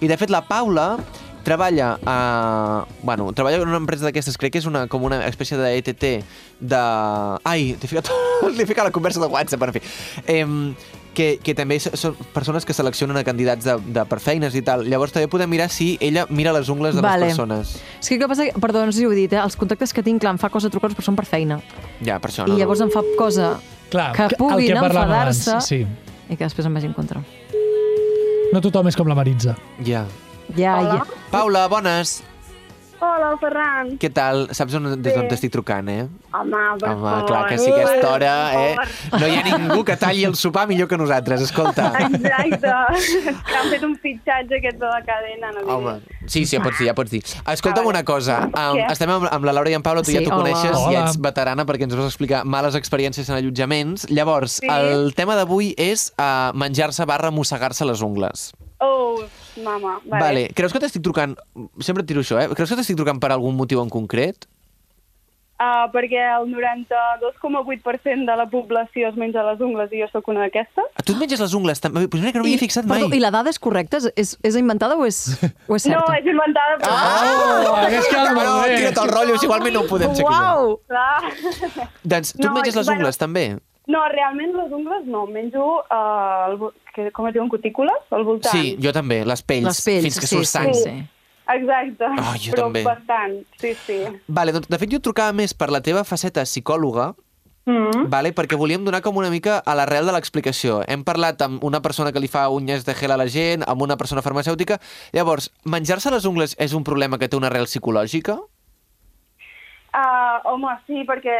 Speaker 3: I de fet la Paula treballa a... Bueno, treballa en una empresa d'aquestes, crec que és una, com una espècie de ETT de... Ai, t'he ficat, *laughs* t'he ficat la conversa de WhatsApp, en fi. Em, que, que també so- són persones que seleccionen a candidats de, de per feines i tal. Llavors també podem mirar si ella mira les ungles de
Speaker 2: Vale.
Speaker 3: les persones.
Speaker 2: És que el que passa... que- Perdó, no sé si ho he dit, eh? Els contactes que tinc, clar, em fa cosa trucar-los, però són per feina.
Speaker 3: Ja, per això.
Speaker 2: I llavors em fa cosa
Speaker 1: Clar,
Speaker 2: que
Speaker 1: el que
Speaker 2: puguin
Speaker 1: parlàvem abans,
Speaker 2: enfadar-se
Speaker 1: sí.
Speaker 2: i que després em vagi en contra.
Speaker 1: No tothom és com la Maritza.
Speaker 3: Ja.
Speaker 2: Ja, ja.
Speaker 3: Paula, bones.
Speaker 10: Hola, Ferran.
Speaker 3: Què tal? Saps on, des d'on t'estic trucant, eh?
Speaker 10: Home, per
Speaker 3: Home,
Speaker 10: favor.
Speaker 3: clar que
Speaker 10: *laughs*
Speaker 3: sí que a aquesta hora, eh?
Speaker 10: Per
Speaker 3: No hi ha ningú que talli el sopar millor que nosaltres, escolta.
Speaker 10: favor. Exacte. que han fet un fitxatge aquest de la cadena. No
Speaker 3: Home, sí, sí, ja pots dir, ja pots dir. Escolta'm una cosa, um,
Speaker 10: Què?
Speaker 3: estem amb, amb la Laura i en Paula, tu
Speaker 2: Sí,
Speaker 3: ja t'ho
Speaker 2: hola.
Speaker 3: coneixes, i
Speaker 1: Hola.
Speaker 3: ets veterana perquè ens vas explicar males experiències en allotjaments. Llavors, el tema d'avui és uh, menjar-se barra mossegar-se les ungles.
Speaker 10: Oh, mama. Vale.
Speaker 3: Vale. Creus que t'estic trucant... Sempre et tiro això, eh? Creus que t'estic trucant per algun motiu en concret?
Speaker 10: Ah, perquè el 92,8% de la població es menja les ungles i jo sóc una d'aquestes.
Speaker 3: Ah, Tu et menges les ungles també? Pues mira que no m'hi he fixat mai.
Speaker 2: Perdó, I la dada és correcta? És- És, és inventada o és, o és
Speaker 10: No,
Speaker 2: certa?
Speaker 10: és inventada. Però...
Speaker 3: Ah!
Speaker 1: Oh,
Speaker 10: *laughs*
Speaker 1: hagués quedat
Speaker 3: no,
Speaker 1: molt bé.
Speaker 3: tira't el rotllo, si igualment no ho podem ser aquí.
Speaker 2: Uau!
Speaker 10: Clar.
Speaker 3: Doncs tu et
Speaker 10: No,
Speaker 3: menges les
Speaker 10: bueno.
Speaker 3: ungles, també?
Speaker 10: No, realment les ungles no. Menjo, uh, el, vo- que, com es diuen, cutícules? Al voltant.
Speaker 3: Sí, jo també, les pells,
Speaker 2: Les pells,
Speaker 3: fins que
Speaker 2: sí,
Speaker 3: surt
Speaker 2: sí,
Speaker 3: sang.
Speaker 2: sí.
Speaker 10: Exacte.
Speaker 3: Ah, jo
Speaker 10: però
Speaker 3: també.
Speaker 10: bastant, sí, sí.
Speaker 3: Vale, doncs, de fet, jo et trucava més per la teva faceta psicòloga, mm. vale, perquè volíem donar com una mica a l'arrel de l'explicació. Hem parlat amb una persona que li fa unyes de gel a la gent, amb una persona farmacèutica... Llavors, menjar-se les ungles és un problema que té una arrel psicològica?
Speaker 10: Uh, home, sí, perquè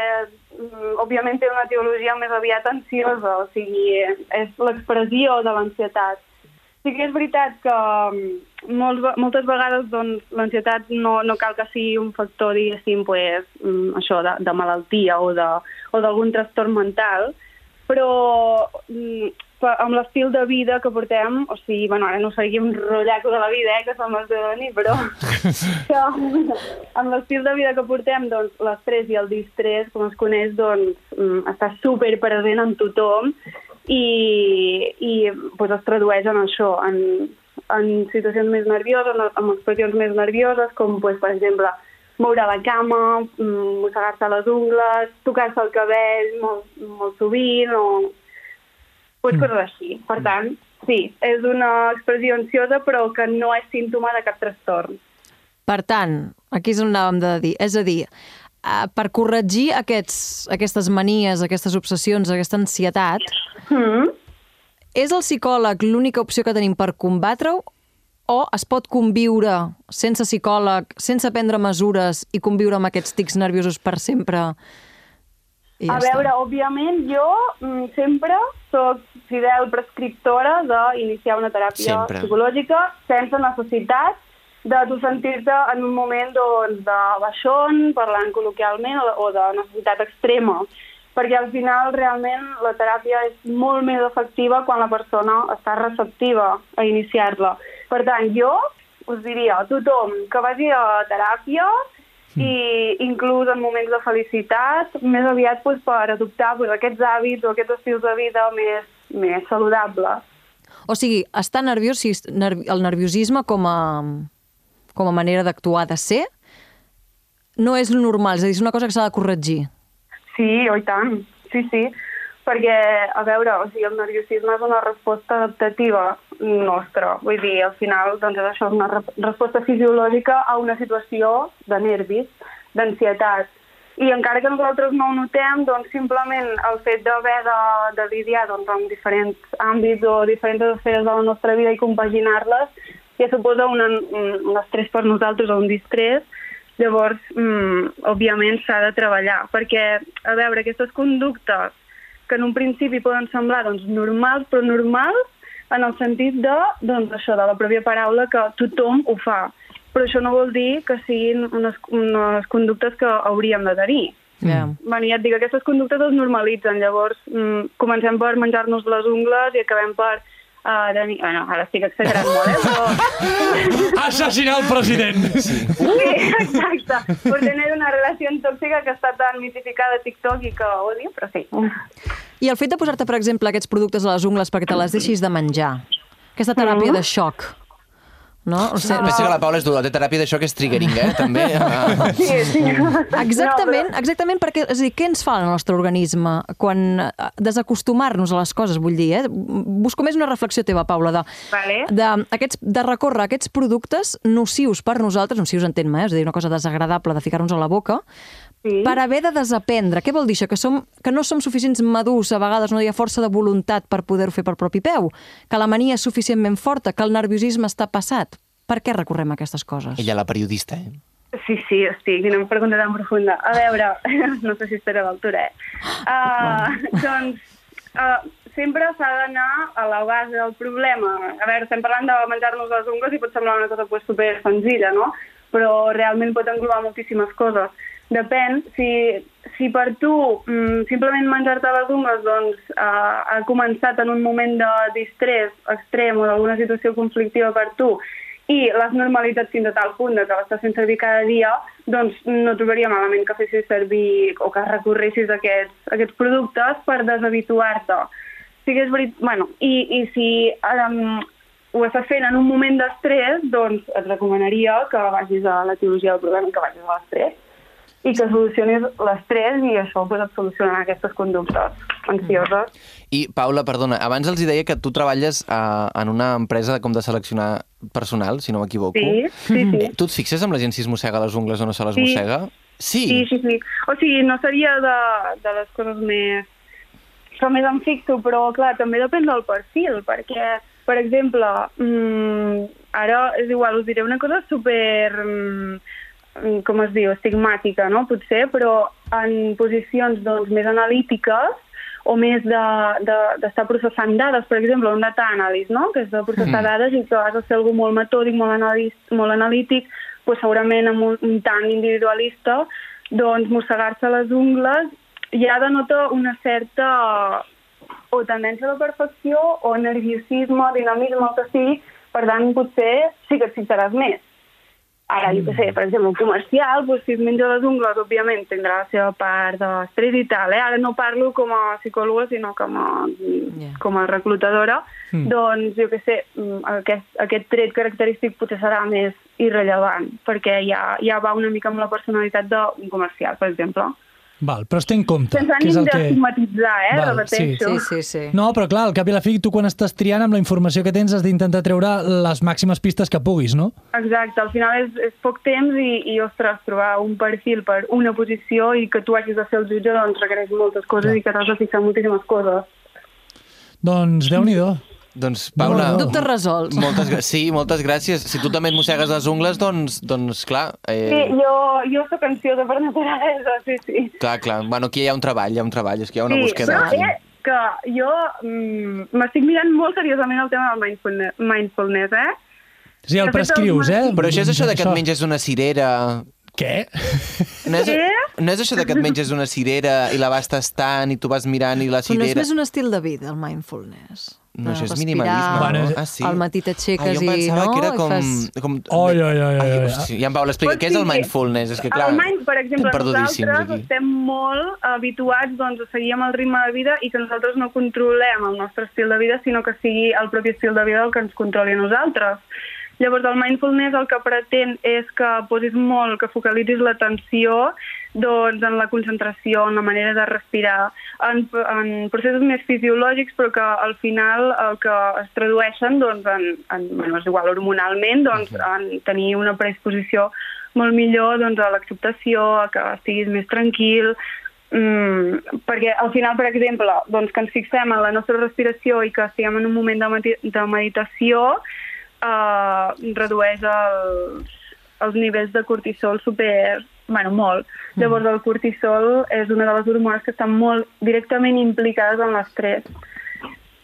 Speaker 10: mm, òbviament té una teologia més aviat ansiosa, o sigui, és l'expressió de l'ansietat. Sí que és veritat que mm, molts, ve- moltes vegades doncs, l'ansietat no, no cal que sigui un factor, diguéssim, pues, mm, això de, de malaltia o de- o d'algun trastorn mental, però mm, per- amb l'estil de vida que portem, o sigui, bueno, ara no seguim un rotllaco de la vida, eh, que som els de Doni, però que, *laughs* amb l'estil de vida que portem, doncs, l'estrès i el distrès, com es coneix, doncs, mm, està super present en tothom i, i doncs, es tradueix en això, en, en situacions més nervioses, en, en expressions més nervioses, com, doncs, per exemple, moure la cama, mm, mossegar-se les ungles, tocar-se el cabell molt, molt sovint, o... pues doncs, coses així. Per tant, sí, és una expressió ansiosa però que no és símptoma de cap trastorn.
Speaker 2: Per tant, aquí és on anàvem de dir. És a dir, eh, per corregir aquests, aquestes manies, aquestes obsessions, aquesta ansietat,
Speaker 10: Mm.
Speaker 2: és el psicòleg l'única opció que tenim per combatre-ho o es pot conviure sense psicòleg, sense prendre mesures i conviure amb aquests tics nerviosos per sempre? I
Speaker 10: a veure, òbviament, jo mm, sempre sóc fidel prescriptora d'iniciar una teràpia
Speaker 3: Sempre.
Speaker 10: psicològica sense necessitat de tu sentir-te en un moment doncs, de baixón, parlant col·loquialment, o, o de necessitat extrema. Perquè al final, realment, la teràpia és molt més efectiva quan la persona està receptiva a iniciar-la. Per tant, jo us diria a tothom que vagi a teràpia i inclús en moments de felicitat, més aviat doncs, per adoptar doncs, aquests hàbits o aquests estils de vida més, més saludables.
Speaker 2: O sigui, estar nerviós, si és nervi- el nerviosisme com a, com a manera d'actuar, de ser, no és lo normal, és a dir, és una cosa que s'ha de corregir.
Speaker 10: Sí, oi tant. Sí, sí. Perquè, a veure, o sigui, el nerviosisme és una resposta adaptativa nostra. Vull dir, al final, doncs, és això és una re- resposta fisiològica a una situació de nervis, d'ansietat. I encara que nosaltres no ho notem, doncs simplement el fet d'haver de, de lidiar doncs, amb diferents àmbits o diferents esferes de la nostra vida i compaginar-les ja suposa una, un, un estrès per nosaltres o un distrés Llavors, mm, òbviament s'ha de treballar, perquè, a veure, aquestes conductes que en un principi poden semblar doncs, normals, però normals en el sentit de, doncs, això, de la pròpia paraula que tothom ho fa. Però això no vol dir que siguin unes, unes conductes que hauríem de tenir.
Speaker 2: Yeah.
Speaker 10: Bueno, ja et dic, aquestes conductes es normalitzen, llavors mm, comencem per menjar-nos les ungles i acabem per... Uh, tenir... Bueno, ara estic exagerant molt, eh?
Speaker 1: *laughs*
Speaker 10: Però...
Speaker 1: Assassinar el president! Sí.
Speaker 10: Sí, exacte. Por tener una relación tóxica que està tan mitificada a TikTok i que odio, però sí.
Speaker 2: I el fet de posar-te, per exemple, aquests productes a les ungles perquè te les deixis de menjar, aquesta teràpia de xoc, no? O sigui,
Speaker 3: Pensa que la Paula és dolor, té teràpia d'això que és triggering, eh? També. Ah.
Speaker 10: *laughs* Sí, sí.
Speaker 2: Exactament, exactament perquè, és a dir, què ens fa el nostre organisme quan eh, desacostumar-nos a les coses, vull dir, eh? Busco més una reflexió teva, Paula, de,
Speaker 10: Vale.
Speaker 2: de, aquests, de recórrer a aquests productes nocius per nosaltres, nocius entén-me, eh? és a dir, una cosa desagradable de ficar-nos a la boca,
Speaker 10: Sí.
Speaker 2: per haver de desaprendre. Què vol dir això? Que, som, que no som suficients madurs, a vegades no hi ha força de voluntat per poder-ho fer per propi peu, que la mania és suficientment forta, que el nerviosisme està passat. Per què recorrem a aquestes coses?
Speaker 3: Ella, la periodista, eh?
Speaker 10: Sí, sí, hosti, quina pregunta tan profunda. A veure, *laughs* no sé si estaré a l'altura, eh? Uh, doncs, uh, sempre s'ha d'anar a la base del problema. A veure, estem parlant de menjar-nos les ungles i pot semblar una cosa pues, super senzilla, no? Però realment pot englobar moltíssimes coses. Depèn, si, si per tu mm, simplement menjar-te les ungles doncs, uh, ha començat en un moment de distrés extrem o d'alguna situació conflictiva per tu i l'has normalitzat fins a tal punt de que l'estàs fent servir cada dia, doncs no trobaria malament que fessis servir o que recorressis a aquests, a aquests productes per deshabituar-te. Sí que és veri... bueno, i, I si um, ho estàs fent en un moment d'estrès, doncs et recomanaria que vagis a la teologia del problema, que vagis a l'estrès i que solucionis l'estrès i això pues, et solucionarà aquestes conductes ansioses.
Speaker 3: I, Paula, perdona, abans els hi deia que tu treballes a, en una empresa com de seleccionar personal, si no m'equivoco.
Speaker 10: Sí, sí, sí.
Speaker 3: Eh, tu et fixes amb la gent si es mossega les ungles o no se les
Speaker 10: Sí.
Speaker 3: mossega? Sí.
Speaker 10: Sí, sí, sí. O sigui, no seria de, de les coses més... Que més em fixo, però, clar, també depèn del perfil, perquè, per exemple, mm, ara és igual, us diré una cosa super... Mm, com es diu, estigmàtica, no?, potser, però en posicions doncs, més analítiques o més d'estar de, de, d'estar processant dades, per exemple, un data analyst, no?, que és de processar mm. dades i que has de ser algú molt metòdic, molt, analís, molt analític, doncs segurament amb un, un tant individualista, doncs mossegar-se les ungles ja denota una certa o tendència a la perfecció o nerviosisme, dinamisme, el que sigui, per tant, potser sí que et fixaràs més. Ara, jo què sé, per exemple, un comercial, doncs, si es menja les ungles, òbviament, tindrà la seva part d'estrès i tal. Eh? Ara no parlo com a psicòloga, sinó com a,
Speaker 2: Ja.
Speaker 10: com a reclutadora.
Speaker 1: Hmm.
Speaker 10: Mm. Doncs, jo què sé, mm, aquest, aquest tret característic potser serà més irrellevant, perquè ja, ja va una mica amb la personalitat d'un comercial, per exemple.
Speaker 1: Val, però es té en compte.
Speaker 10: Sense
Speaker 1: que és
Speaker 10: ànim
Speaker 1: el que...
Speaker 10: d'estigmatitzar, eh?
Speaker 1: Val,
Speaker 10: Repeteixo.
Speaker 1: No, però clar, al cap i a la fi, tu quan estàs triant amb la informació que tens has d'intentar treure les màximes pistes que puguis, no?
Speaker 10: Exacte, al final és, és poc temps i, i, ostres, trobar un perfil per una posició i que tu hagis de ser el jutge doncs requereix moltes coses i que t'has de fixar en moltíssimes coses.
Speaker 1: Doncs déu-n'hi-do.
Speaker 3: Doncs, Paula...
Speaker 1: No, no. Dubtes
Speaker 2: resolts.
Speaker 3: Moltes, gra- sí, moltes gràcies. Si tu també et mossegues les ungles, doncs, doncs clar... Eh,
Speaker 10: Sí, jo, jo sóc ansiosa per naturalesa, sí, sí.
Speaker 3: Clar, clar. Bueno, aquí hi ha un treball, hi ha un treball. És que hi ha una
Speaker 10: sí,
Speaker 3: búsqueda.
Speaker 10: però eh, que jo mm, m'estic mirant molt seriosament el tema del mindfulness, mindfulness eh?
Speaker 1: Sí,
Speaker 10: el De fet, prescrius, els- eh?
Speaker 3: Però això és això de que et
Speaker 10: Això.
Speaker 3: menges una cirera...
Speaker 1: Què?
Speaker 3: No és,
Speaker 10: Què?
Speaker 3: no és això de que et menges una cirera i la vas tastant i tu vas mirant i la
Speaker 2: Però no és
Speaker 3: cirera...
Speaker 2: més un estil de vida, el mindfulness.
Speaker 3: No,
Speaker 2: De
Speaker 3: això és
Speaker 2: respirar,
Speaker 3: minimalisme, Bueno, no? Ah, sí.
Speaker 2: Al matí
Speaker 3: Ai,
Speaker 2: t'aixeques
Speaker 3: jo em
Speaker 2: i...
Speaker 3: pensava
Speaker 2: No?
Speaker 3: que era
Speaker 2: I
Speaker 3: com...
Speaker 2: Fas...
Speaker 3: com...
Speaker 1: Ai, ai, ai, ai, ai.
Speaker 3: hosti, ja em Paula, explica,
Speaker 10: Pot
Speaker 3: què és el
Speaker 10: dir que
Speaker 3: mindfulness? És que, clar,
Speaker 10: el mind, per exemple,
Speaker 3: estem perdudíssims
Speaker 10: nosaltres
Speaker 3: aquí.
Speaker 10: estem molt habituats doncs, a seguir amb el ritme de vida i que nosaltres no controlem el nostre estil de vida, sinó que sigui el propi estil de vida el que ens controli a nosaltres. Llavors, el mindfulness el que pretén és que posis molt, que focalitzis l'atenció doncs, en la concentració, en la manera de respirar, en, en processos més fisiològics, però que al final el que es tradueixen doncs, en, en, bueno, és igual, hormonalment, doncs, en tenir una predisposició molt millor doncs, a l'acceptació, a que estiguis més tranquil, mm, perquè al final, per exemple, doncs, que ens fixem en la nostra respiració i que estiguem en un moment de, medi- de meditació, eh, redueix els, els nivells de cortisol super... Bueno, molt. Llavors, el cortisol és una de les hormones que estan molt directament implicades en l'estrès.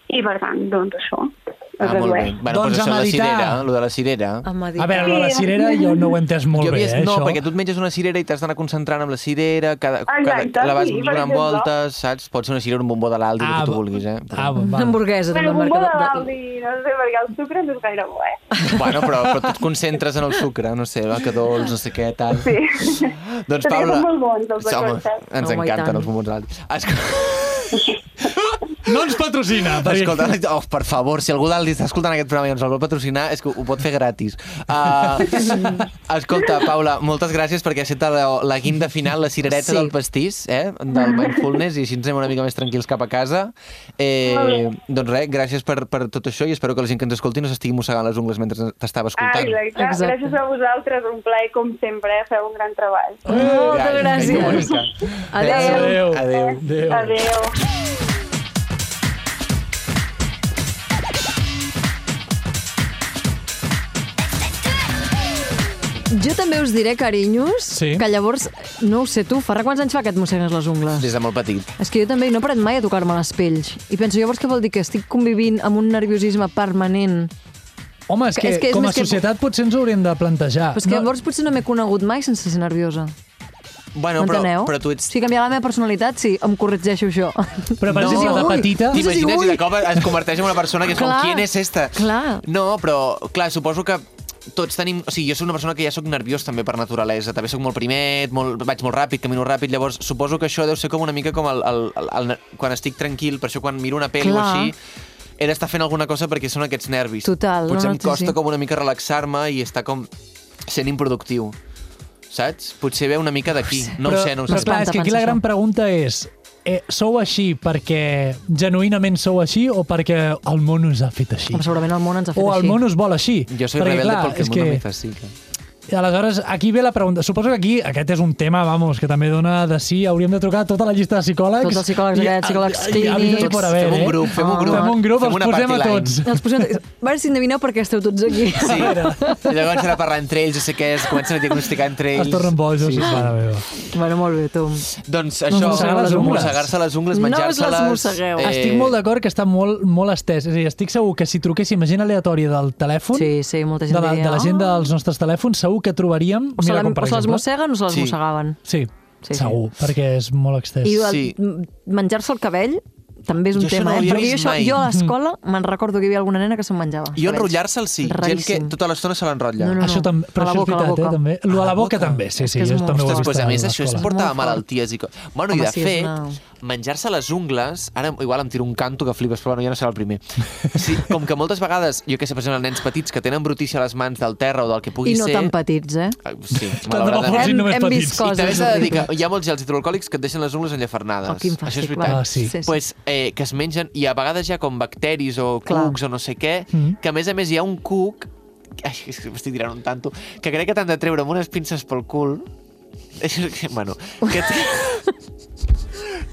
Speaker 10: I, per tant, doncs això es
Speaker 3: Ah, molt bé.
Speaker 10: redueix.
Speaker 3: Bueno, doncs
Speaker 1: Doncs a
Speaker 3: això de la
Speaker 1: meditar.
Speaker 3: cirera, lo de la cirera.
Speaker 2: A
Speaker 1: A
Speaker 2: meditar.
Speaker 1: veure, lo de la cirera jo no ho he entès molt
Speaker 3: jo
Speaker 1: bé,
Speaker 3: havia-
Speaker 1: eh,
Speaker 3: no,
Speaker 1: això.
Speaker 3: perquè tu et menges una cirera i t'has d'anar concentrant amb la cirera, cada,
Speaker 10: Exacte,
Speaker 3: cada, la vas
Speaker 10: sí, per
Speaker 3: donant
Speaker 10: exemple.
Speaker 3: voltes, saps? Pot ser una cirera, un bombó de l'Aldi,
Speaker 1: Ah,
Speaker 3: el que tu
Speaker 1: va.
Speaker 3: vulguis, eh?
Speaker 1: Ah, va,
Speaker 2: Doncs Una
Speaker 1: va.
Speaker 2: hamburguesa
Speaker 10: Bueno,
Speaker 2: d'una
Speaker 10: un
Speaker 2: marca...
Speaker 10: bo de
Speaker 2: de-
Speaker 10: l'Aldi, no sé, perquè el sucre no és gaire bo, eh?
Speaker 3: *laughs* Bueno, però, però tu et concentres en el sucre, no sé, va, que dolç, no sé què, tal.
Speaker 10: Sí.
Speaker 3: Doncs,
Speaker 10: També
Speaker 3: Paula...
Speaker 10: són molt bons, els
Speaker 3: home,
Speaker 10: bacotes.
Speaker 3: ens
Speaker 2: Home, i tant.
Speaker 3: encanten els bombons de l'Aldi. Escolta,
Speaker 1: No ens patrocina! perquè-
Speaker 3: escolta, oh, per favor, si algú d'Aldi està escoltant aquest programa i ens el vol patrocinar, és que ho pot fer gratis. Uh, escolta, Paula, moltes gràcies perquè has fet la, la guinda final, la cirereta
Speaker 2: Sí.
Speaker 3: del pastís, eh, del mindfulness, i així ens anem una mica més tranquils cap a casa. Eh, doncs res, gràcies per, per tot això i espero que la gent que ens escolti no s'estigui mossegant les ungles mentre t'estava
Speaker 10: Ah,
Speaker 3: escoltant.
Speaker 10: exacte.
Speaker 2: Exacte.
Speaker 10: Gràcies a vosaltres, un plaer com sempre, eh? feu un gran treball.
Speaker 2: Moltes
Speaker 3: Vinga,
Speaker 2: gràcies.
Speaker 3: bonica.
Speaker 2: Adéu.
Speaker 1: Adéu.
Speaker 3: Adéu.
Speaker 1: Adéu.
Speaker 10: Adéu.
Speaker 2: Jo també us diré, carinyos,
Speaker 1: Sí.
Speaker 2: que llavors, no ho sé tu, Ferra, quants anys fa que et mossegues les ungles?
Speaker 3: Des de molt petit.
Speaker 2: És que jo també no he parat mai a tocar-me les pells. I penso, llavors què vol dir? Que estic convivint amb un nerviosisme permanent.
Speaker 1: Home, és que,
Speaker 2: És que és
Speaker 1: com a
Speaker 2: més que-
Speaker 1: societat potser ens ho hauríem de plantejar.
Speaker 2: Però és que llavors potser no m'he conegut mai sense ser nerviosa.
Speaker 3: Bueno, però,
Speaker 2: M'enteneu?
Speaker 3: però tu ets...
Speaker 2: Si canviar la meva personalitat, sí, em corregeixo això.
Speaker 1: Però, per
Speaker 3: No.
Speaker 1: exemple, de
Speaker 2: Ui,
Speaker 1: petita...
Speaker 2: Dic-
Speaker 3: T'imagines
Speaker 2: Ui.
Speaker 3: si de cop es converteix en una persona que és
Speaker 2: Clar,
Speaker 3: com, ¿quién és esta?
Speaker 2: clar.
Speaker 3: No, però, clar, suposo que tots tenim... O sigui, jo sóc una persona que ja sóc nerviós també per naturalesa. També sóc molt primet, molt, vaig molt ràpid, camino ràpid. Llavors, suposo que això deu ser com una mica com el, el, el, el quan estic tranquil, per això quan miro una pel·li o
Speaker 2: Clar.
Speaker 3: així he d'estar fent alguna cosa perquè són aquests nervis.
Speaker 2: Total, no,
Speaker 3: Potser
Speaker 2: no,
Speaker 3: em
Speaker 2: sí,
Speaker 3: costa
Speaker 2: sí.
Speaker 3: com una mica relaxar-me i estar com sent improductiu. Saps? Potser ve una mica d'aquí. No ho sé, no ho sé.
Speaker 1: Però clar, és que aquí la
Speaker 2: Pensa
Speaker 1: gran
Speaker 2: això.
Speaker 1: pregunta és eh, sou així perquè genuïnament sou així o perquè el món us ha fet així?
Speaker 2: Home, segurament el món ens ha fet
Speaker 1: O el
Speaker 2: així.
Speaker 1: món us vol així.
Speaker 3: Jo soy
Speaker 1: perquè,
Speaker 3: rebelde
Speaker 1: clar,
Speaker 3: porque
Speaker 1: és
Speaker 3: el mundo
Speaker 1: que-
Speaker 3: me hizo así. clar.
Speaker 1: I aleshores, aquí ve la pregunta. Suposo que aquí, aquest és un tema, vamos, que també dona de sí. Hauríem de trucar tota la llista de psicòlegs.
Speaker 2: Tots els psicòlegs aquests, psicòlegs
Speaker 1: i, i, i,
Speaker 2: clínics.
Speaker 1: por haver,
Speaker 3: Fem un
Speaker 1: eh?
Speaker 3: grup, fem un grup.
Speaker 1: Fem un grup,
Speaker 3: Fem
Speaker 1: els
Speaker 3: una
Speaker 1: posem a
Speaker 3: party line.
Speaker 1: tots.
Speaker 2: Els posem... Va, si endevineu per què esteu tots aquí.
Speaker 3: Sí, i llavors serà parlar entre ells, jo sé què és, comencen a diagnosticar entre ells.
Speaker 1: Es tornen bojos, sí. mare meva.
Speaker 2: *laughs* Bueno, molt bé, tu.
Speaker 3: Doncs això,
Speaker 1: mossegar les ungles.
Speaker 3: mossegar-se les ungles,
Speaker 2: No us les
Speaker 3: menjar-se-les...
Speaker 2: mossegueu.
Speaker 1: Eh... Estic molt d'acord que està molt, molt estès. És a dir, estic segur que si truquéssim a gent aleatòria del telèfon,
Speaker 2: Sí, sí, molta
Speaker 1: de
Speaker 2: gent
Speaker 1: la,
Speaker 2: diria,
Speaker 1: de la gent
Speaker 2: "Ah".
Speaker 1: dels nostres telèfons, segur que trobaríem...
Speaker 2: O se,
Speaker 1: mira,
Speaker 2: la,
Speaker 1: com per
Speaker 2: o se les
Speaker 1: exemple-
Speaker 2: mosseguen o se les
Speaker 3: Sí.
Speaker 2: mossegaven.
Speaker 1: Sí,
Speaker 2: Sí,
Speaker 1: sí,
Speaker 2: sí.
Speaker 1: segur, perquè és molt extès.
Speaker 2: I el,
Speaker 3: Sí.
Speaker 2: m- menjar-se el cabell també és un
Speaker 3: Jo això
Speaker 2: tema,
Speaker 3: no ho
Speaker 2: eh?
Speaker 3: havia
Speaker 2: Perquè jo,
Speaker 3: vist
Speaker 2: això,
Speaker 3: mai.
Speaker 2: jo
Speaker 1: Mm.
Speaker 2: a l'escola me'n recordo que hi havia alguna nena que se'n menjava.
Speaker 3: I
Speaker 2: cabells.
Speaker 3: enrotllar-se'l, sí. Gent que
Speaker 2: Raríssim.
Speaker 3: tota l'estona se l'enrotlla.
Speaker 2: No, no,
Speaker 1: Això tam...
Speaker 2: A
Speaker 1: Però
Speaker 2: la
Speaker 1: això és
Speaker 2: boca, a la
Speaker 1: veritat, eh,
Speaker 2: boca.
Speaker 1: també. Lo a la boca també, sí,
Speaker 2: És
Speaker 1: sí,
Speaker 2: que és
Speaker 1: jo
Speaker 2: molt
Speaker 1: també ho he
Speaker 3: Ostres,
Speaker 1: vist
Speaker 3: pues, a
Speaker 1: a
Speaker 3: més, això
Speaker 1: l'escola.
Speaker 3: em portava
Speaker 2: Molt fort.
Speaker 3: malalties i coses. Bueno,
Speaker 2: Home,
Speaker 3: i de
Speaker 2: sí, és
Speaker 3: fet,
Speaker 2: una-
Speaker 3: menjar-se les ungles, ara igual em tiro un canto que flipes, però bueno, ja no serà
Speaker 1: *laughs*
Speaker 3: el primer. Sí, com que moltes vegades, jo que sé, per exemple, nens petits que tenen brutícia a les mans del terra o del que pugui
Speaker 2: I no
Speaker 3: ser...
Speaker 2: tan petits, eh?
Speaker 3: Ah, Sí,
Speaker 1: Tant de bo
Speaker 3: malauradament.
Speaker 1: fossin Hem- només hem petits. vist
Speaker 3: I també
Speaker 1: coses
Speaker 3: s'ha de dir que
Speaker 1: horribles.
Speaker 3: hi ha molts gels hidroalcohòlics que et deixen les ungles enllafernades.
Speaker 1: Oh, quin
Speaker 3: Això
Speaker 1: fàstic,
Speaker 3: és veritat.
Speaker 1: clar. Ah, sí. Sí, sí.
Speaker 3: Pues, eh, que es mengen, i a vegades hi ha com bacteris o
Speaker 1: Clar.
Speaker 3: cucs o no sé què,
Speaker 1: Mhm.
Speaker 3: que a més a més hi ha un cuc... Ai, és que m'estic tirant un tanto. Que crec que t'han de treure amb unes pinces pel cul... *laughs* Això és que- Bueno, que...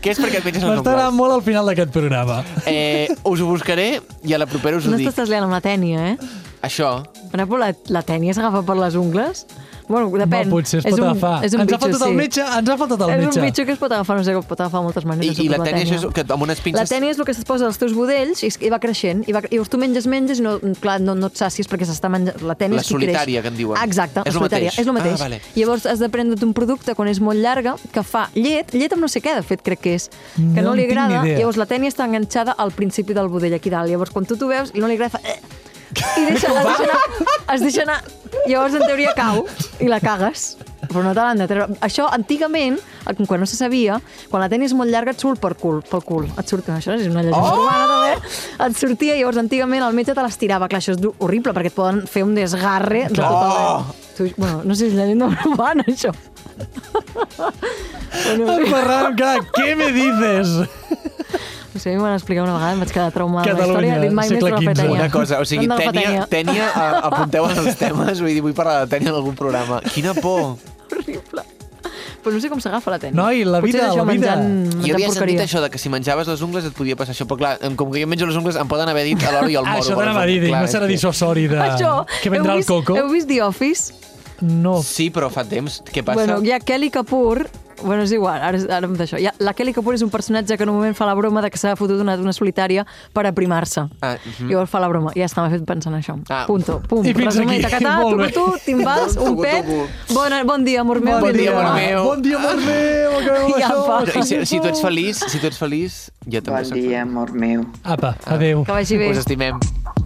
Speaker 3: que és perquè et menges les
Speaker 1: M'està
Speaker 3: ungles.
Speaker 1: agradant molt al final d'aquest programa.
Speaker 3: Eh, us ho buscaré i a la propera us ho
Speaker 2: No
Speaker 3: dic.
Speaker 2: t'estàs liant amb la tènia, eh?
Speaker 3: Això.
Speaker 2: Però la, la tènia s'agafa per les ungles? Bueno, depèn.
Speaker 1: No, potser es pot agafar.
Speaker 2: És un
Speaker 1: Ens ha
Speaker 2: bitxo,
Speaker 1: faltat el
Speaker 2: sí.
Speaker 1: metge, ens ha faltat el
Speaker 2: és
Speaker 1: metge.
Speaker 2: un bitxo que es pot agafar, no sé, que pot agafar de moltes
Speaker 3: I,
Speaker 2: maneres.
Speaker 3: i la
Speaker 2: suposo,
Speaker 3: tènia, això és que amb unes pinces...
Speaker 2: La tènia és el que es posa als teus budells i, es- i va creixent. I, va, i llavors tu menges, menges i no, clar, no, no et sacies perquè s'està menjant... La tènia
Speaker 3: La
Speaker 2: és qui creix.
Speaker 3: solitària, que en diuen.
Speaker 2: Ah, exacte,
Speaker 3: És
Speaker 2: la
Speaker 3: el
Speaker 2: solitària.
Speaker 3: mateix.
Speaker 2: És el mateix.
Speaker 3: Ah, vale.
Speaker 2: Llavors has de prendre't un producte quan és molt llarga que fa llet, llet amb no sé què, de fet, crec que és, que
Speaker 1: No
Speaker 2: no,
Speaker 1: en
Speaker 2: li
Speaker 1: tinc ni
Speaker 2: agrada.
Speaker 1: idea.
Speaker 2: Llavors la tènia està enganxada al principi del budell, aquí dalt. Llavors quan tu t'ho veus i no li agrada, fa... Eh, i deixa, es, deixa anar, es deixa anar. Llavors, en teoria, cau i la cagues. Però no te l'han de treure. Això, antigament, quan no se sabia, quan la tènia és molt llarga et surt per cul, pel cul. Et surt, això és una llegenda
Speaker 12: Oh!
Speaker 2: urbana, també. Et sortia, llavors, antigament, el metge te l'estirava. Clar, això és du- horrible, perquè et poden fer un desgarre de tot el...
Speaker 12: Oh!
Speaker 2: Tu, bueno, no sé si és llegenda urbana, això. bueno,
Speaker 1: En Ferran, clar, què me dices?
Speaker 2: No sé, a mi m'ho van explicar una vegada, em vaig quedar traumada amb la
Speaker 3: Catalunya,
Speaker 2: història. he dit, mai més
Speaker 3: segle
Speaker 2: de la
Speaker 3: XV.
Speaker 2: fetènia.
Speaker 3: Una cosa, o sigui,
Speaker 2: De la
Speaker 3: tènia,
Speaker 2: fetènia.
Speaker 3: tènia a- apunteu en els temes, vull dir, vull parlar de tènia en algun programa. Quina por!
Speaker 2: Però no sé com s'agafa la tènia.
Speaker 1: Noi, la
Speaker 2: Potser
Speaker 1: vida,
Speaker 2: és
Speaker 1: la
Speaker 2: això
Speaker 1: vida.
Speaker 2: Menjant, menjant
Speaker 3: Jo havia
Speaker 2: Mm, porqueria.
Speaker 3: sentit això de que si menjaves les ungles et podia passar això, però clar, em- com que jo menjo les ungles em poden haver dit a l'hora i al moro.
Speaker 1: Ah, Això
Speaker 3: per
Speaker 1: t'anava a dir,
Speaker 3: exemple.
Speaker 1: dic,
Speaker 3: Clar,
Speaker 1: no
Speaker 3: és
Speaker 1: serà
Speaker 3: que-
Speaker 1: dissuasori de...
Speaker 2: Això,
Speaker 1: que vendrà
Speaker 2: heu
Speaker 1: el
Speaker 2: vist,
Speaker 1: coco.
Speaker 2: Heu vist The Office?
Speaker 1: No.
Speaker 3: Sí, però fa temps. Què passa?
Speaker 2: Bueno, hi ha Kelly Kapoor, Bueno, és igual, ara, ara em d'això. Hi ha- La Kelly Kapoor és un personatge que en un moment fa la broma de que s'ha fotut una, una solitària per aprimar-se.
Speaker 3: Ah, mhm.
Speaker 2: Llavors fa la broma. Ja està, m'ha fet pensar en això.
Speaker 3: Ah.
Speaker 2: Punto. Pum.
Speaker 3: I fins
Speaker 2: Resumé,
Speaker 3: aquí.
Speaker 2: Tacatà,
Speaker 3: *laughs* Molt bé.
Speaker 2: tucutú, timbals, un
Speaker 3: Tucutú.
Speaker 2: pet. Bona, bon dia, amor meu.
Speaker 3: Bon dia, amor meu.
Speaker 1: Bon dia, amor meu, acabem
Speaker 2: Ja
Speaker 1: això.
Speaker 2: va.
Speaker 3: Però, i si, si tu ets feliç, si tu ets feliç, jo també
Speaker 4: Bon
Speaker 3: soc
Speaker 4: dia, amor meu.
Speaker 1: Apa, adeu.
Speaker 2: Que vagi bé.
Speaker 3: Us estimem.